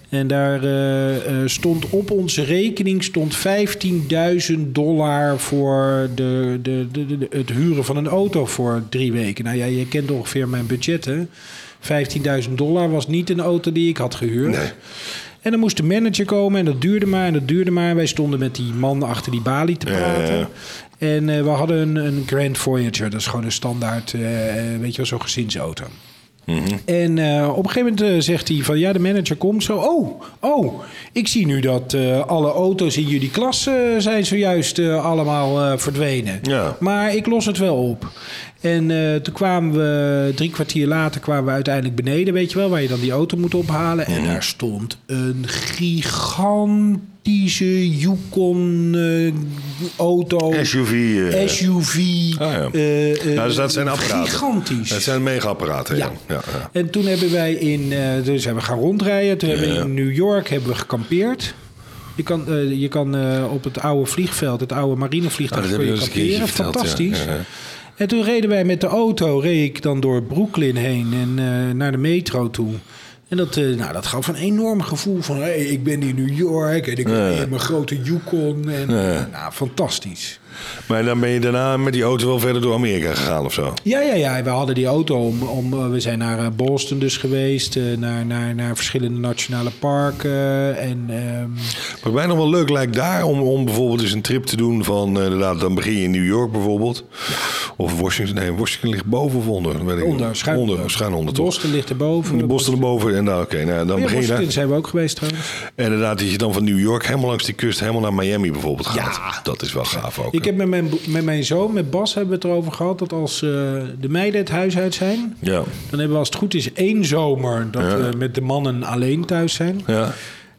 [SPEAKER 1] En daar eh, eh, stond op onze rekening stond 15.000 dollar voor de, de, de, de- de- het huren van een auto voor drie weken. Nou ja, je kent ongeveer mijn budgetten. 15.000 dollar was niet een auto die ik had gehuurd.
[SPEAKER 4] Nee.
[SPEAKER 1] En dan moest de manager komen en dat duurde maar en dat duurde maar. En wij stonden met die man achter die balie te
[SPEAKER 4] Ja, ja, ja.
[SPEAKER 1] praten. En eh, we hadden een, een Grand Voyager. Dat is gewoon een standaard, eh, eh, weet je wel, zo'n gezinsauto. En eh, op een gegeven moment eh, zegt hij van ja, de manager komt zo. Oh, oh, ik zie nu dat eh, alle auto's in jullie klas eh, zijn zojuist eh, allemaal eh, verdwenen.
[SPEAKER 4] Ja.
[SPEAKER 1] Maar ik los het wel op. En eh, toen kwamen we, drie kwartier later kwamen we uiteindelijk beneden, weet je wel, waar je dan die auto moet ophalen. En
[SPEAKER 4] Mhm.
[SPEAKER 1] daar stond een gigantische Yukon eh, auto.
[SPEAKER 4] SUV. eh,
[SPEAKER 1] SUV.
[SPEAKER 4] Ah, ja.
[SPEAKER 1] eh, eh,
[SPEAKER 4] nou, dus dat zijn apparaten.
[SPEAKER 1] Gigantisch.
[SPEAKER 4] Dat zijn mega-apparaten, ja.
[SPEAKER 1] Ja.
[SPEAKER 4] Ja, ja.
[SPEAKER 1] En toen hebben wij in, eh, dus hebben we gaan rondrijden. Toen hebben we in New York hebben we gekampeerd. Je kan, eh, je kan eh, op het oude vliegveld, het oude marinevliegtuig,
[SPEAKER 4] Ah, dat
[SPEAKER 1] kun je
[SPEAKER 4] heb je eens een keertje
[SPEAKER 1] kamperen.
[SPEAKER 4] verteld, ja.
[SPEAKER 1] Fantastisch.
[SPEAKER 4] Ja, ja.
[SPEAKER 1] En toen reden wij met de auto, reed ik dan door Brooklyn heen en eh, naar de metro toe. En dat, eh, nou, dat gaf een enorm gevoel van, hey, ik ben in New York en ik ben in mijn grote Yukon. En, Nou, fantastisch.
[SPEAKER 4] Maar dan ben je daarna met die auto wel verder door Amerika gegaan of zo?
[SPEAKER 1] Ja, ja, ja. We hadden die auto om. om eh, we zijn naar eh, Boston dus geweest. eh, naar, naar, naar verschillende nationale parken. En ehm,
[SPEAKER 4] Wat mij nog wel leuk lijkt daar om, om bijvoorbeeld eens een trip te doen van... eh, inderdaad, dan begin je in New York bijvoorbeeld. Of Washington. Nee, Washington ligt boven of onder? Dat weet ik
[SPEAKER 1] onder,
[SPEAKER 4] niet.
[SPEAKER 1] schuin
[SPEAKER 4] onder. Schuin onder, toch?
[SPEAKER 1] Boston ligt erboven.
[SPEAKER 4] De Boston erboven en daar, oké. nou, dan
[SPEAKER 1] Ja,
[SPEAKER 4] begin je daar.
[SPEAKER 1] Boston zijn we ook geweest trouwens.
[SPEAKER 4] En inderdaad, dat je dan van New York helemaal langs die kust... helemaal naar Miami bijvoorbeeld gaat. Dat is wel gaaf ook.
[SPEAKER 1] Ik heb met mijn, bo- met mijn zoon, met Bas, hebben we het erover gehad... dat als eh, de meiden het huis uit zijn...
[SPEAKER 4] Ja.
[SPEAKER 1] dan hebben we als het goed is één zomer... dat we met de mannen alleen thuis zijn.
[SPEAKER 4] Ja.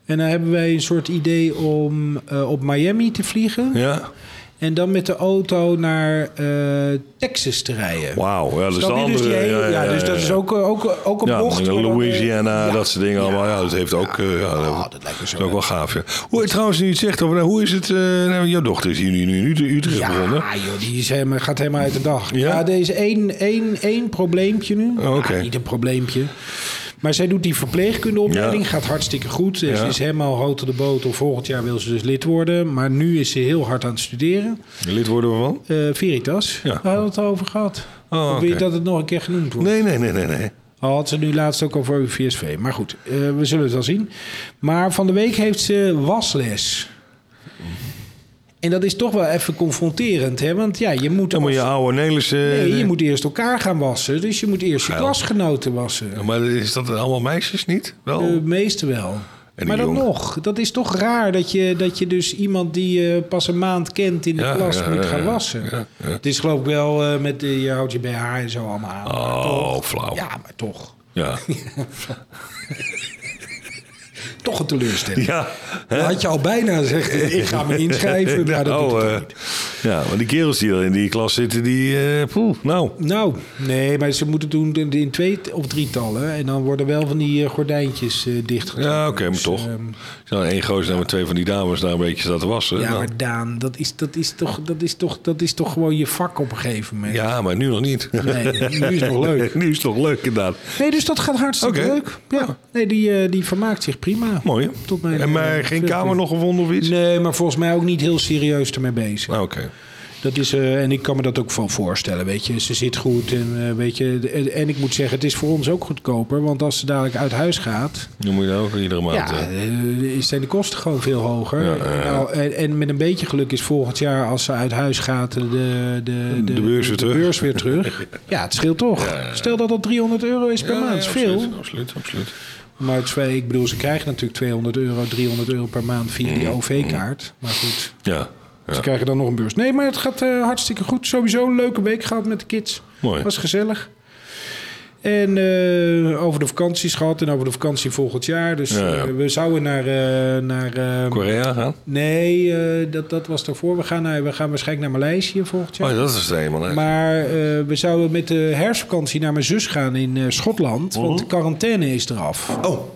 [SPEAKER 1] En dan hebben wij een soort idee om eh, op Miami te vliegen...
[SPEAKER 4] Ja.
[SPEAKER 1] En dan met de auto naar eh, Texas te rijden.
[SPEAKER 4] Wauw. Ja, dus de
[SPEAKER 1] Snap je?
[SPEAKER 4] andere...
[SPEAKER 1] Dus die hele-
[SPEAKER 4] ja, ja,
[SPEAKER 1] ja, dus
[SPEAKER 4] ja,
[SPEAKER 1] dat
[SPEAKER 4] ja.
[SPEAKER 1] is ook, eh, ook, ook een
[SPEAKER 4] Ja,
[SPEAKER 1] bocht. maar dan, Ah, eh,
[SPEAKER 4] Louisiana,
[SPEAKER 1] ja.
[SPEAKER 4] dat soort dingen allemaal. Ja, dat heeft ook. eh, Ja, dat, is ook wel gaaf. Ja. Hoe, trouwens, nu je het zegt over, nou, hoe is het? eh, nou, jouw dochter is hier nu, nu in Ut- Utrecht begonnen.
[SPEAKER 1] Ja, ah, joh, die is helemaal, gaat helemaal uit de dag.
[SPEAKER 4] Ja?
[SPEAKER 1] Ja, er is één, één, één probleempje nu.
[SPEAKER 4] Oh, oké.
[SPEAKER 1] Ja, niet een probleempje. Maar zij doet die verpleegkundeopleiding,
[SPEAKER 4] Ja.
[SPEAKER 1] gaat hartstikke goed. Ze
[SPEAKER 4] Ja.
[SPEAKER 1] is helemaal hout op de boter. Volgend jaar wil ze dus lid worden. Maar nu is ze heel hard aan het studeren.
[SPEAKER 4] Lid worden we van?
[SPEAKER 1] Eh, Veritas,
[SPEAKER 4] Ja.
[SPEAKER 1] daar hadden we het over gehad.
[SPEAKER 4] Oh,
[SPEAKER 1] Of wil je
[SPEAKER 4] oké.
[SPEAKER 1] dat het nog een keer genoemd wordt?
[SPEAKER 4] Nee, nee, nee, nee. nee.
[SPEAKER 1] Al had ze nu laatst ook al voor VSV. Maar goed, eh, we zullen het wel zien. Maar van de week heeft ze wasles. En dat is toch wel even confronterend, hè? Want ja, je moet,
[SPEAKER 4] Dan moet je
[SPEAKER 1] als-
[SPEAKER 4] oude Nederlandse.
[SPEAKER 1] nee, je moet eerst elkaar gaan wassen. Dus je moet eerst je
[SPEAKER 4] Geil.
[SPEAKER 1] klasgenoten wassen.
[SPEAKER 4] Maar is dat allemaal meisjes niet? Wel?
[SPEAKER 1] De meeste wel.
[SPEAKER 4] Oh. die
[SPEAKER 1] Maar dan
[SPEAKER 4] jongen?
[SPEAKER 1] nog, dat is toch raar dat je, dat je dus iemand die je pas een maand kent in de
[SPEAKER 4] Ja,
[SPEAKER 1] klas
[SPEAKER 4] ja,
[SPEAKER 1] moet
[SPEAKER 4] ja,
[SPEAKER 1] gaan
[SPEAKER 4] ja,
[SPEAKER 1] wassen.
[SPEAKER 4] ja, ja.
[SPEAKER 1] Het is geloof ik wel eh, met eh, je houdt je BH en zo allemaal aan.
[SPEAKER 4] oh, flauw. Ja.
[SPEAKER 1] Ja, maar toch. <laughs>
[SPEAKER 4] Ja.
[SPEAKER 1] Toch een teleurstelling. Dan had je al bijna gezegd, ik ga me inschrijven, maar dat
[SPEAKER 4] <laughs> Nou,
[SPEAKER 1] doet het
[SPEAKER 4] eh,
[SPEAKER 1] toch niet.
[SPEAKER 4] ja, maar die kerels die al in die klas zitten, die. eh, poeh, nou.
[SPEAKER 1] Nou, nee, maar ze moeten doen in- in twee of drietallen. En dan worden wel van die eh, gordijntjes eh dichtgetrokken.
[SPEAKER 4] Ja, oké, maar
[SPEAKER 1] Dus,
[SPEAKER 4] toch.
[SPEAKER 1] ehm,
[SPEAKER 4] Zo, één gozer en met twee van die dames daar een beetje staan te wassen.
[SPEAKER 1] ja,
[SPEAKER 4] Nou.
[SPEAKER 1] maar Daan, dat is, dat, is toch, dat, is toch, dat is toch gewoon je vak op een gegeven moment.
[SPEAKER 4] Ja, maar nu nog niet. <laughs>
[SPEAKER 1] Nee, nu is het nog leuk.
[SPEAKER 4] nu is het nog leuk, inderdaad.
[SPEAKER 1] Nee, dus dat gaat hartstikke
[SPEAKER 4] Oké. Ah.
[SPEAKER 1] leuk. Ja. Nee, die, eh, die vermaakt zich prima.
[SPEAKER 4] Mooi. hè?
[SPEAKER 1] Tot mijn,
[SPEAKER 4] en maar
[SPEAKER 1] eh,
[SPEAKER 4] geen
[SPEAKER 1] veel
[SPEAKER 4] kamer nog gevonden of iets?
[SPEAKER 1] Nee, maar volgens mij ook niet heel serieus ermee bezig.
[SPEAKER 4] Ah, Oké.
[SPEAKER 1] Dat is, eh, en ik kan me dat ook van voorstellen, weet je. Ze zit goed en, eh, weet je, de- en- en ik moet zeggen, het is voor ons ook goedkoper. Want als ze dadelijk uit huis gaat,
[SPEAKER 4] Dan moet je nou ook iedere maand...
[SPEAKER 1] ja,
[SPEAKER 4] eh,
[SPEAKER 1] eh, zijn de kosten gewoon veel hoger.
[SPEAKER 4] Ja, ja, ja.
[SPEAKER 1] Nou, en, en met een beetje geluk is volgend jaar, als ze uit huis gaat, de, de, de,
[SPEAKER 4] De beurs weer terug.
[SPEAKER 1] beurs weer
[SPEAKER 4] <laughs>
[SPEAKER 1] terug. ja, het scheelt toch. Stel dat dat 300 euro is per
[SPEAKER 4] ja,
[SPEAKER 1] maand,
[SPEAKER 4] ja,
[SPEAKER 1] is veel.
[SPEAKER 4] Absoluut, absoluut, absoluut.
[SPEAKER 1] Maar het is wel- ik bedoel, ze krijgen natuurlijk 200 euro, 300 euro per maand via
[SPEAKER 4] Mm-hmm.
[SPEAKER 1] die OV-kaart. Maar goed,
[SPEAKER 4] Ja, ja.
[SPEAKER 1] ze krijgen dan nog een beurs. Nee, maar het gaat eh, hartstikke goed. Sowieso een leuke week gehad met de kids.
[SPEAKER 4] Mooi.
[SPEAKER 1] Was gezellig. En eh, over de vakanties gehad en over de vakantie volgend jaar. Dus
[SPEAKER 4] Ja, ja.
[SPEAKER 1] eh, we zouden naar... eh, naar eh,
[SPEAKER 4] Korea gaan?
[SPEAKER 1] nee, eh, dat, dat was daarvoor. We gaan, naar, we gaan waarschijnlijk naar Maleisië volgend jaar.
[SPEAKER 4] Oh, dat is het helemaal. hè?
[SPEAKER 1] Maar eh, we zouden met de herfstvakantie naar mijn zus gaan in eh, Schotland. Want de quarantaine is eraf.
[SPEAKER 4] Oh,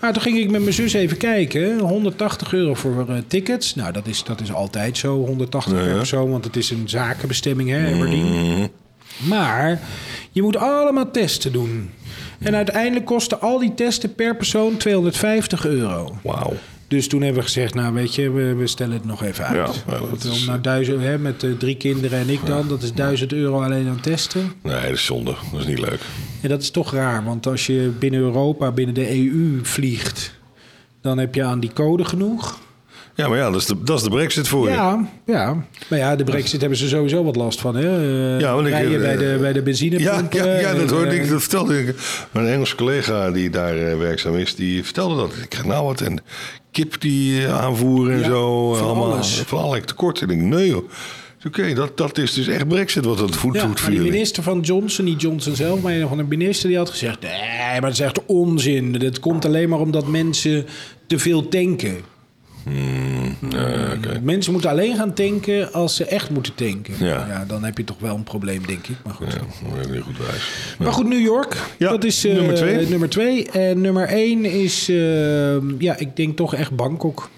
[SPEAKER 1] Maar toen ging ik met mijn zus even kijken. 180 euro voor eh, tickets. Nou, dat is, dat is altijd zo, 180
[SPEAKER 4] Ja, Mm-hmm. ja.
[SPEAKER 1] euro of zo. Want het is een zakenbestemming, hè, Aberdeen. Maar je moet allemaal testen doen. En uiteindelijk kosten al die testen per persoon 250 euro.
[SPEAKER 4] wauw.
[SPEAKER 1] Dus toen hebben we gezegd, nou weet je, we, we stellen het nog even uit.
[SPEAKER 4] Ja, ja, dat
[SPEAKER 1] Want
[SPEAKER 4] is-
[SPEAKER 1] om nou duizend, hè, met eh, drie kinderen en ik dan, dat is 1000 euro alleen aan testen.
[SPEAKER 4] Nee, dat is zonde. Dat is niet leuk.
[SPEAKER 1] En dat is toch raar, want als je binnen Europa, binnen de EU vliegt, dan heb je aan die code genoeg.
[SPEAKER 4] Ja, maar ja, dat is de, dat is de brexit voor je.
[SPEAKER 1] Ja, ja. Maar ja, de brexit hebben ze sowieso wat last van. Hè? Eh,
[SPEAKER 4] Ja, want ik-
[SPEAKER 1] rijden bij de, bij de
[SPEAKER 4] Ja,
[SPEAKER 1] benzinepompen.
[SPEAKER 4] ja, ja, dat
[SPEAKER 1] eh,
[SPEAKER 4] hoorde ik, dat vertelde ik. Mijn Engelse collega die daar eh, werkzaam is, die vertelde dat. Ik kreeg nou wat en kip die eh, aanvoeren en
[SPEAKER 1] Ja,
[SPEAKER 4] zo. eh,
[SPEAKER 1] van
[SPEAKER 4] allemaal,
[SPEAKER 1] alles.
[SPEAKER 4] Van allerlei tekorten. Ik denk, nee joh. Oké, dat, dat is dus echt brexit wat dat voet
[SPEAKER 1] Ja,
[SPEAKER 4] doet
[SPEAKER 1] maar
[SPEAKER 4] voor
[SPEAKER 1] die
[SPEAKER 4] jullie.
[SPEAKER 1] minister van Johnson, niet Johnson zelf, maar een van de minister die had gezegd... nee, maar dat is echt onzin. Dat komt alleen maar omdat mensen te veel tanken.
[SPEAKER 4] Ja, Ah, oké.
[SPEAKER 1] Mensen moeten alleen gaan tanken als ze echt moeten tanken.
[SPEAKER 4] Ja.
[SPEAKER 1] dan heb je toch wel een probleem, denk ik. Maar goed.
[SPEAKER 4] Ja, dat is niet goed wijs.
[SPEAKER 1] Maar goed, New York.
[SPEAKER 4] Ja,
[SPEAKER 1] dat is eh,
[SPEAKER 4] nummer
[SPEAKER 1] nummer,
[SPEAKER 4] twee.
[SPEAKER 1] twee. En nummer één is, eh, ja, ik denk toch echt Bangkok.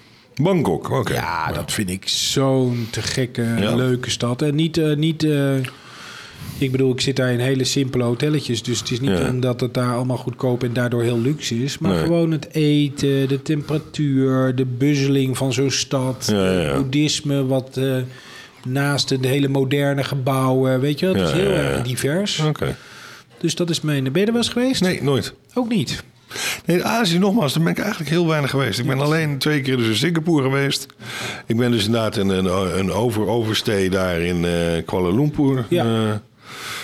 [SPEAKER 4] Bangkok, oké.
[SPEAKER 1] Ja, dat vind ik zo'n te gekke,
[SPEAKER 4] Ja.
[SPEAKER 1] leuke stad. En niet, eh, niet eh, ik bedoel, ik zit daar in hele simpele hotelletjes. Dus het is niet
[SPEAKER 4] Ja.
[SPEAKER 1] omdat het daar allemaal goedkoop en daardoor heel luxe is. Maar
[SPEAKER 4] Nee.
[SPEAKER 1] gewoon het eten, de temperatuur, de buzzeling van zo'n stad.
[SPEAKER 4] Ja, ja, ja.
[SPEAKER 1] het boeddhisme, wat eh, naast de hele moderne gebouwen. Weet je, wel, het
[SPEAKER 4] Ja,
[SPEAKER 1] is heel
[SPEAKER 4] ja, ja.
[SPEAKER 1] erg divers.
[SPEAKER 4] Oké.
[SPEAKER 1] Dus dat is mijn... Ben je er wel eens geweest?
[SPEAKER 4] Nee, nooit.
[SPEAKER 1] Ook niet.
[SPEAKER 4] Nee, Azië nogmaals, daar ben ik eigenlijk heel weinig geweest. Ik ben alleen twee keer dus in Singapore geweest. Ik ben dus inderdaad een, een, een over, overstay daar in eh, Kuala Lumpur.
[SPEAKER 1] Ja.
[SPEAKER 4] Eh,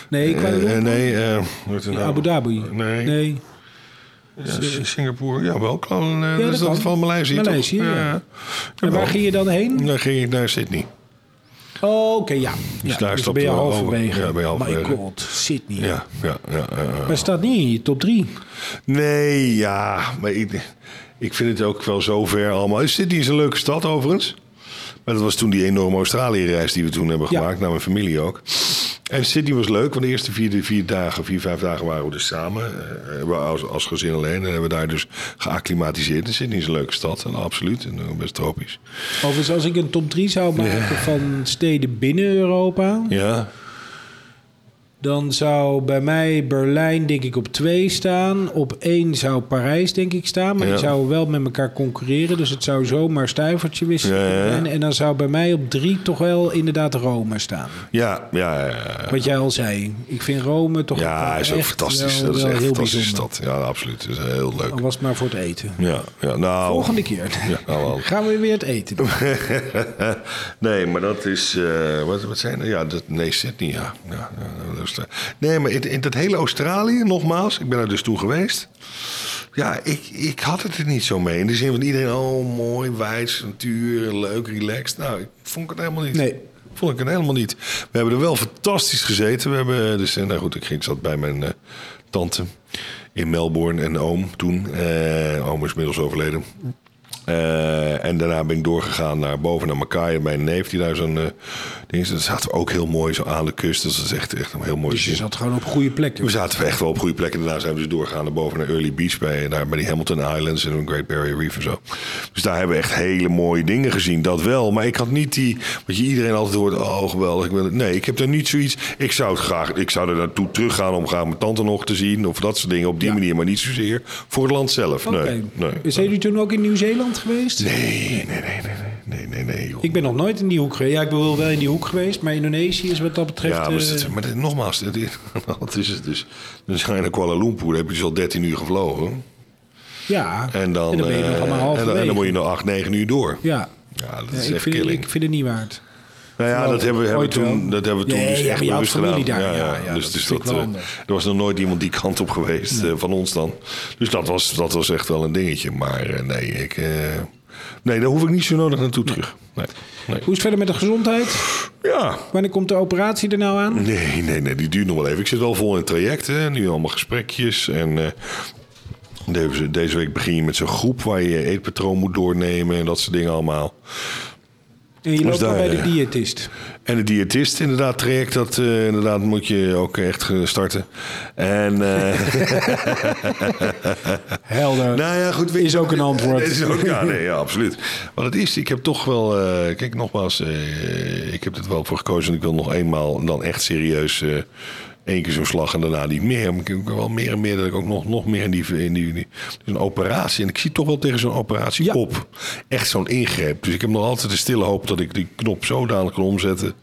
[SPEAKER 1] Nee, ik wou-
[SPEAKER 4] eh, nee, eh, hoe heet het nou?
[SPEAKER 1] Abu Dhabi.
[SPEAKER 4] Nee,
[SPEAKER 1] nee. dus, eh,
[SPEAKER 4] ja, S- Singapore. Ja, wel. Kuala, eh,
[SPEAKER 1] Ja,
[SPEAKER 4] dat
[SPEAKER 1] dat
[SPEAKER 4] is dat
[SPEAKER 1] kan.
[SPEAKER 4] van Maleisië, toch?
[SPEAKER 1] Maleisië, ja.
[SPEAKER 4] Ja,
[SPEAKER 1] En
[SPEAKER 4] jawel.
[SPEAKER 1] waar ging je dan heen?
[SPEAKER 4] Dan ging ik naar Sydney.
[SPEAKER 1] Oh, oké, ja.
[SPEAKER 4] Dus
[SPEAKER 1] ja.
[SPEAKER 4] daar
[SPEAKER 1] dus
[SPEAKER 4] stapt
[SPEAKER 1] ben je
[SPEAKER 4] er wel
[SPEAKER 1] halverwege.
[SPEAKER 4] over. Ja, ben je halverwege.
[SPEAKER 1] My god, Sydney.
[SPEAKER 4] Ja, ja, ja. ja, ja.
[SPEAKER 1] Maar staat niet in je top 3.
[SPEAKER 4] Nee, ja, maar ik, ik vind het ook wel zo ver allemaal. Sydney is een leuke stad overigens. Maar dat was toen die enorme Australië-reis die we toen hebben
[SPEAKER 1] Ja.
[SPEAKER 4] gemaakt, naar mijn familie ook. En Sydney was leuk, want de eerste vier, vier dagen, vier, vijf dagen waren we dus samen. eh, we als, als gezin alleen. En hebben we daar dus geacclimatiseerd. En Sydney is een leuke stad, en absoluut. En ook best tropisch.
[SPEAKER 1] Overigens, als ik een top 3 zou maken van steden binnen Europa...
[SPEAKER 4] Ja,
[SPEAKER 1] dan zou bij mij Berlijn denk ik op 2 staan. Op 1 zou Parijs denk ik staan. Maar
[SPEAKER 4] Ja.
[SPEAKER 1] die zouden wel met elkaar concurreren. Dus het zou zomaar stuivertje wisselen.
[SPEAKER 4] Ja, ja, ja.
[SPEAKER 1] En, en dan zou bij mij op 3 toch wel inderdaad Rome staan.
[SPEAKER 4] ja, ja. ja.
[SPEAKER 1] Wat jij al zei. Ik vind Rome toch
[SPEAKER 4] Ja, is ook
[SPEAKER 1] echt
[SPEAKER 4] fantastisch.
[SPEAKER 1] wel-
[SPEAKER 4] dat is
[SPEAKER 1] wel
[SPEAKER 4] echt een
[SPEAKER 1] heel
[SPEAKER 4] fantastische
[SPEAKER 1] bijzonder.
[SPEAKER 4] stad. Ja, absoluut. Dat is heel leuk.
[SPEAKER 1] Al was het maar voor het eten.
[SPEAKER 4] Ja, ja nou.
[SPEAKER 1] Volgende keer
[SPEAKER 4] Ja, nou wel.
[SPEAKER 1] <laughs> gaan we weer het eten doen.
[SPEAKER 4] <laughs> nee, maar dat is. eh, wat, wat zijn er? Ja, dat, nee, Sydney, ja. ja, ja, dat is, eh, nee, maar in, in dat hele Australië, nogmaals, ik ben er dus toen geweest. Ja, ik, ik had het er niet zo mee. In de zin van iedereen, oh mooi, wijs, natuur, leuk, relaxed. Nou, ik vond het helemaal niet.
[SPEAKER 1] Nee.
[SPEAKER 4] Vond ik het helemaal niet. We hebben er wel fantastisch gezeten. We hebben eh, dus, eh, nou goed, ik ging, zat bij mijn eh, tante in Melbourne en oom toen. Eh, oom is inmiddels overleden. Eh, en daarna ben ik doorgegaan naar boven naar Makai. Mijn neef die daar zo'n eh, ding is. Dat zaten we ook heel mooi zo aan de kust. Dus dat is echt, echt een heel mooi
[SPEAKER 1] Dus je
[SPEAKER 4] zin.
[SPEAKER 1] zat gewoon op goede plekken.
[SPEAKER 4] We zaten echt wel op goede plekken. Daarna zijn we dus doorgegaan naar boven naar Early Beach bij, daar, bij die Hamilton Islands en de Great Barrier Reef en zo. Dus daar hebben we echt hele mooie dingen gezien. Dat wel. Maar ik had niet die. Wat je iedereen altijd hoort. Oh, geweldig. Ik wil het. Nee, ik heb daar niet zoiets. Ik zou het graag. Ik zou er naartoe teruggaan om graag mijn tante nog te zien. Of dat soort dingen. Op die
[SPEAKER 1] Ja.
[SPEAKER 4] manier. Maar niet zozeer voor het land zelf.
[SPEAKER 1] Oké.
[SPEAKER 4] Nee, nee.
[SPEAKER 1] Zijn jullie toen ook in Nieuw-Zeeland geweest?
[SPEAKER 4] Nee, nee, nee, nee, nee. nee, nee, nee. joh.
[SPEAKER 1] Ik ben nog nooit in die hoek geweest. Ja, ik ben wel wel in die hoek geweest, maar Indonesië is wat dat betreft...
[SPEAKER 4] Ja, maar, is
[SPEAKER 1] eh,
[SPEAKER 4] het, <laughs> maar dit- nogmaals, dit, dit- wat is het dus? Dan ga je naar Kuala Lumpur, daar heb je dus al 13 uur gevlogen.
[SPEAKER 1] ja.
[SPEAKER 4] En dan,
[SPEAKER 1] ben je nog
[SPEAKER 4] eh,
[SPEAKER 1] allemaal
[SPEAKER 4] en dan, en dan
[SPEAKER 1] halverwege.
[SPEAKER 4] moet je nog 8, 9 uur door.
[SPEAKER 1] Ja,
[SPEAKER 4] Ja, dat
[SPEAKER 1] Ja,
[SPEAKER 4] is
[SPEAKER 1] ik,
[SPEAKER 4] echt
[SPEAKER 1] vind,
[SPEAKER 4] killing.
[SPEAKER 1] ik vind het niet waard.
[SPEAKER 4] Nou ja, dat hebben, we- hebben
[SPEAKER 1] Ooit wel.
[SPEAKER 4] toen, dat hebben we toen
[SPEAKER 1] Nee,
[SPEAKER 4] dus
[SPEAKER 1] ja,
[SPEAKER 4] echt
[SPEAKER 1] maar je had
[SPEAKER 4] bewust
[SPEAKER 1] familie
[SPEAKER 4] gedaan.
[SPEAKER 1] daar. Ja, ja,
[SPEAKER 4] dus
[SPEAKER 1] dat
[SPEAKER 4] dus
[SPEAKER 1] vind
[SPEAKER 4] dat,
[SPEAKER 1] ik wel
[SPEAKER 4] eh,
[SPEAKER 1] handig.
[SPEAKER 4] er was nog nooit iemand die kant op geweest eh, van ons dan. Dus dat was, dat was echt wel een dingetje. Maar eh, nee, ik, eh, nee, daar hoef ik niet zo nodig naartoe terug. Nee. Nee.
[SPEAKER 1] Hoe is het verder met de gezondheid?
[SPEAKER 4] Ja,
[SPEAKER 1] Wanneer komt de operatie er nou aan?
[SPEAKER 4] nee, nee, nee, die duurt nog wel even. Ik zit wel vol in trajecten. Nu allemaal gesprekjes en... eh, deze- deze week begin je met zo'n groep waar je je eetpatroon moet doornemen en dat soort dingen allemaal.
[SPEAKER 1] En je loopt
[SPEAKER 4] daar,
[SPEAKER 1] al bij de
[SPEAKER 4] eh,
[SPEAKER 1] diëtist.
[SPEAKER 4] En de diëtist, inderdaad, traject, dat eh, inderdaad moet je ook echt eh, starten. En, eh, <laughs>
[SPEAKER 1] Helder.
[SPEAKER 4] nou ja, goed. weet
[SPEAKER 1] Is
[SPEAKER 4] je-
[SPEAKER 1] ook een antwoord.
[SPEAKER 4] Is ook, ja, nee, ja, absoluut. Maar het is, ik heb toch wel, eh, kijk, nogmaals, eh, ik heb er wel voor gekozen. En ik wil nog eenmaal dan echt serieus eh één keer zo'n slag en daarna niet meer. Maar ik heb wel meer en meer dat ik ook nog, nog meer in die, in die, in die- dus een operatie. En ik zie toch wel tegen zo'n operatie
[SPEAKER 1] Ja.
[SPEAKER 4] op. Echt zo'n ingreep. Dus ik heb nog altijd de stille hoop dat ik die knop zodanig kan omzetten.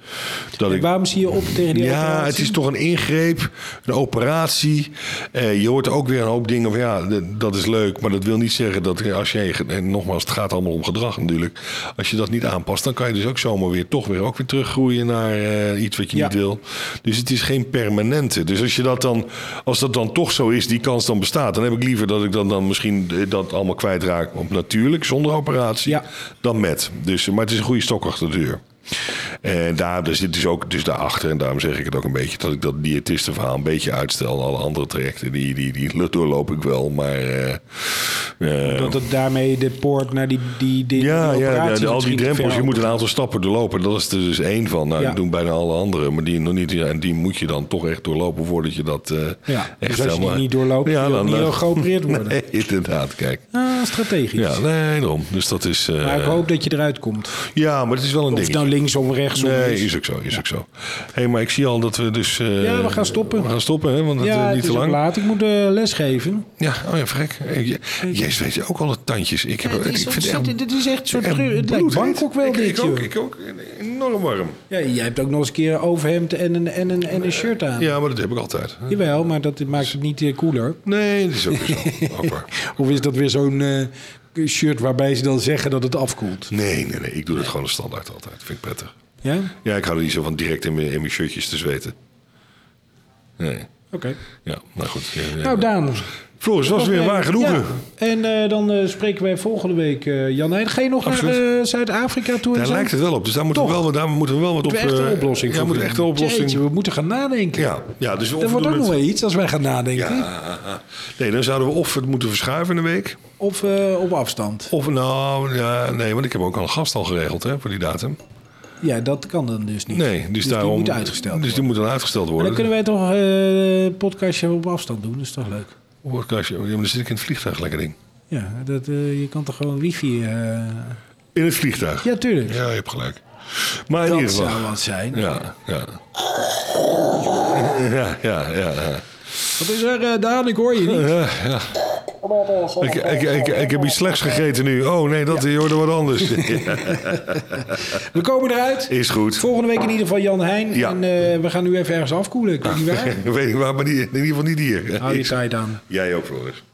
[SPEAKER 4] Dat ik
[SPEAKER 1] Waarom zie je op tegen die
[SPEAKER 4] ja,
[SPEAKER 1] operatie?
[SPEAKER 4] het is toch een ingreep, een operatie. Eh, je hoort ook weer een hoop dingen van ja, d- dat is leuk. Maar dat wil niet zeggen dat eh, als je, en nogmaals, het gaat allemaal om gedrag natuurlijk. Als je dat niet aanpast, dan kan je dus ook zomaar weer toch weer, ook weer teruggroeien naar eh, iets wat je
[SPEAKER 1] Ja.
[SPEAKER 4] niet wil. Dus het is geen permanente. Dus als je dat dan, als dat dan toch zo is, die kans dan bestaat. Dan heb ik liever dat ik dan, dan misschien eh, dat allemaal kwijtraak op natuurlijk, zonder operatie,
[SPEAKER 1] Ja.
[SPEAKER 4] dan met. Dus, eh, maar het is een goede stok achter de deur. En daar daar zit dus ook dus daarachter. En daarom zeg ik het ook een beetje dat ik dat diëtistenverhaal een beetje uitstel. Alle andere trajecten, die, die, die doorloop ik wel. Maar eh, eh,
[SPEAKER 1] Dat het daarmee de poort naar die, die, die,
[SPEAKER 4] ja,
[SPEAKER 1] die
[SPEAKER 4] ja,
[SPEAKER 1] operatie
[SPEAKER 4] ja, al die
[SPEAKER 1] misschien
[SPEAKER 4] drempels. Je
[SPEAKER 1] ver-
[SPEAKER 4] moet een aantal stappen doorlopen. Dat is er dus één van. Nou,
[SPEAKER 1] Ja.
[SPEAKER 4] dat doen bijna alle anderen. Maar die nog niet. Ja, en die moet je dan toch echt doorlopen voordat je dat eh,
[SPEAKER 1] Ja,
[SPEAKER 4] echt
[SPEAKER 1] dus als je die
[SPEAKER 4] helemaal-
[SPEAKER 1] niet doorloopt, ja, dan, niet
[SPEAKER 4] eh,
[SPEAKER 1] heel geopereerd worden.
[SPEAKER 4] <laughs> nee, inderdaad, kijk.
[SPEAKER 1] Ah, strategisch.
[SPEAKER 4] Ja, nee, daarom. Dus dat is. eh,
[SPEAKER 1] Maar ik hoop dat je eruit komt.
[SPEAKER 4] ja, maar het is wel een
[SPEAKER 1] Of het
[SPEAKER 4] ding.
[SPEAKER 1] nou linksom, rechtsom
[SPEAKER 4] Nee,
[SPEAKER 1] is.
[SPEAKER 4] is ook zo, is ook zo. Hé, hey, maar ik zie al dat we dus... eh,
[SPEAKER 1] Ja, we gaan stoppen.
[SPEAKER 4] We gaan stoppen, hè, want het
[SPEAKER 1] Ja,
[SPEAKER 4] is
[SPEAKER 1] het
[SPEAKER 4] eh, niet
[SPEAKER 1] is
[SPEAKER 4] te
[SPEAKER 1] ook
[SPEAKER 4] lang.
[SPEAKER 1] laat. Ik moet eh, lesgeven.
[SPEAKER 4] Ja, oh ja, vrek. Eh, je- Jezus, weet je, ook al de tandjes. Ik, heb,
[SPEAKER 1] Ja, het
[SPEAKER 4] ik
[SPEAKER 1] is
[SPEAKER 4] vind het echt,
[SPEAKER 1] ontzettend- dit is echt een soort
[SPEAKER 4] echt
[SPEAKER 1] geur. Het lijkt
[SPEAKER 4] bloedheet.
[SPEAKER 1] Bangkok wel
[SPEAKER 4] ik,
[SPEAKER 1] dit,
[SPEAKER 4] ik ook,
[SPEAKER 1] joh.
[SPEAKER 4] ik ook. Enorm warm.
[SPEAKER 1] Ja, jij hebt ook nog eens een keer een overhemd en een, en een, en een shirt aan.
[SPEAKER 4] Ja, maar dat heb ik altijd.
[SPEAKER 1] Jawel, maar dat maakt het niet eh, cooler.
[SPEAKER 4] Nee, dat is ook weer
[SPEAKER 1] <laughs>
[SPEAKER 4] zo. Ook waar.
[SPEAKER 1] Of is dat weer zo'n eh, shirt waarbij ze dan zeggen dat het afkoelt?
[SPEAKER 4] Nee, nee, nee. Ik doe dat gewoon als standaard altijd. Vind ik prettig.
[SPEAKER 1] Ja? Oké.
[SPEAKER 4] Ja, ik hou er niet zo van direct in mijn, in mijn shirtjes te zweten. Nee. Ja, nou goed. Ja, ja.
[SPEAKER 1] Nou, Daan.
[SPEAKER 4] Floris, was weer
[SPEAKER 1] Oké,
[SPEAKER 4] een waar genoegen.
[SPEAKER 1] ja. En eh, dan eh, spreken wij volgende week eh, Jan Heijn. Ga je nog naar
[SPEAKER 4] Absoluut.
[SPEAKER 1] eh, Zuid-Afrika toe? en
[SPEAKER 4] Daar
[SPEAKER 1] zo?
[SPEAKER 4] lijkt het wel op. Dus daar moeten, we
[SPEAKER 1] Toch.
[SPEAKER 4] wel, daar moeten we wel wat op...
[SPEAKER 1] Moeten we echt
[SPEAKER 4] eh,
[SPEAKER 1] een oplossing
[SPEAKER 4] Ja,
[SPEAKER 1] voor
[SPEAKER 4] moeten we echt een
[SPEAKER 1] vinden.
[SPEAKER 4] oplossing...
[SPEAKER 1] Jeetje, we moeten gaan nadenken.
[SPEAKER 4] Ja, ja, dus of
[SPEAKER 1] Dat
[SPEAKER 4] we
[SPEAKER 1] wordt
[SPEAKER 4] doen
[SPEAKER 1] ook nog
[SPEAKER 4] het-
[SPEAKER 1] wel iets als wij gaan nadenken.
[SPEAKER 4] Ja. Nee, dan zouden we of het moeten verschuiven in de week.
[SPEAKER 1] Of eh, op afstand.
[SPEAKER 4] Of nou, ja, nee, want ik heb ook al een gast al geregeld hè, voor die datum.
[SPEAKER 1] Ja, dat kan dan dus niet.
[SPEAKER 4] Nee, dus, daarom.
[SPEAKER 1] die moet uitgesteld
[SPEAKER 4] Dus die moet dan uitgesteld
[SPEAKER 1] Maar
[SPEAKER 4] worden.
[SPEAKER 1] dan kunnen wij toch eh, een podcastje op afstand doen. Dat is toch leuk?
[SPEAKER 4] Podcastje. Ja, maar dan zit ik in het vliegtuig lekker ding.
[SPEAKER 1] Ja, dat, eh, je kan toch gewoon wifi... eh,
[SPEAKER 4] In het vliegtuig.
[SPEAKER 1] Ja, tuurlijk.
[SPEAKER 4] Ja, je hebt gelijk. Maar in
[SPEAKER 1] Dat
[SPEAKER 4] ieder
[SPEAKER 1] zou
[SPEAKER 4] geval.
[SPEAKER 1] wat zijn.
[SPEAKER 4] Ja, ja. Ja, ja, ja. ja.
[SPEAKER 1] Wat is er, eh, Daan? Ik hoor je niet.
[SPEAKER 4] Ja, ja. Ik,
[SPEAKER 1] Oh,
[SPEAKER 4] ik, ik, ik heb iets slechts gegeten nu. Oh nee, dat je hoorde wat
[SPEAKER 1] <laughs>
[SPEAKER 4] anders. <laughs>
[SPEAKER 1] We komen eruit.
[SPEAKER 4] Is goed.
[SPEAKER 1] Volgende week in ieder geval Jan Heijn.
[SPEAKER 4] Ja.
[SPEAKER 1] En eh,
[SPEAKER 4] <laughs>
[SPEAKER 1] we gaan nu even ergens afkoelen. Ik weet niet waar.
[SPEAKER 4] Weet ik waar, maar niet- in ieder geval niet hier.
[SPEAKER 1] Hou je tijd aan.
[SPEAKER 4] Jij ook, Floris.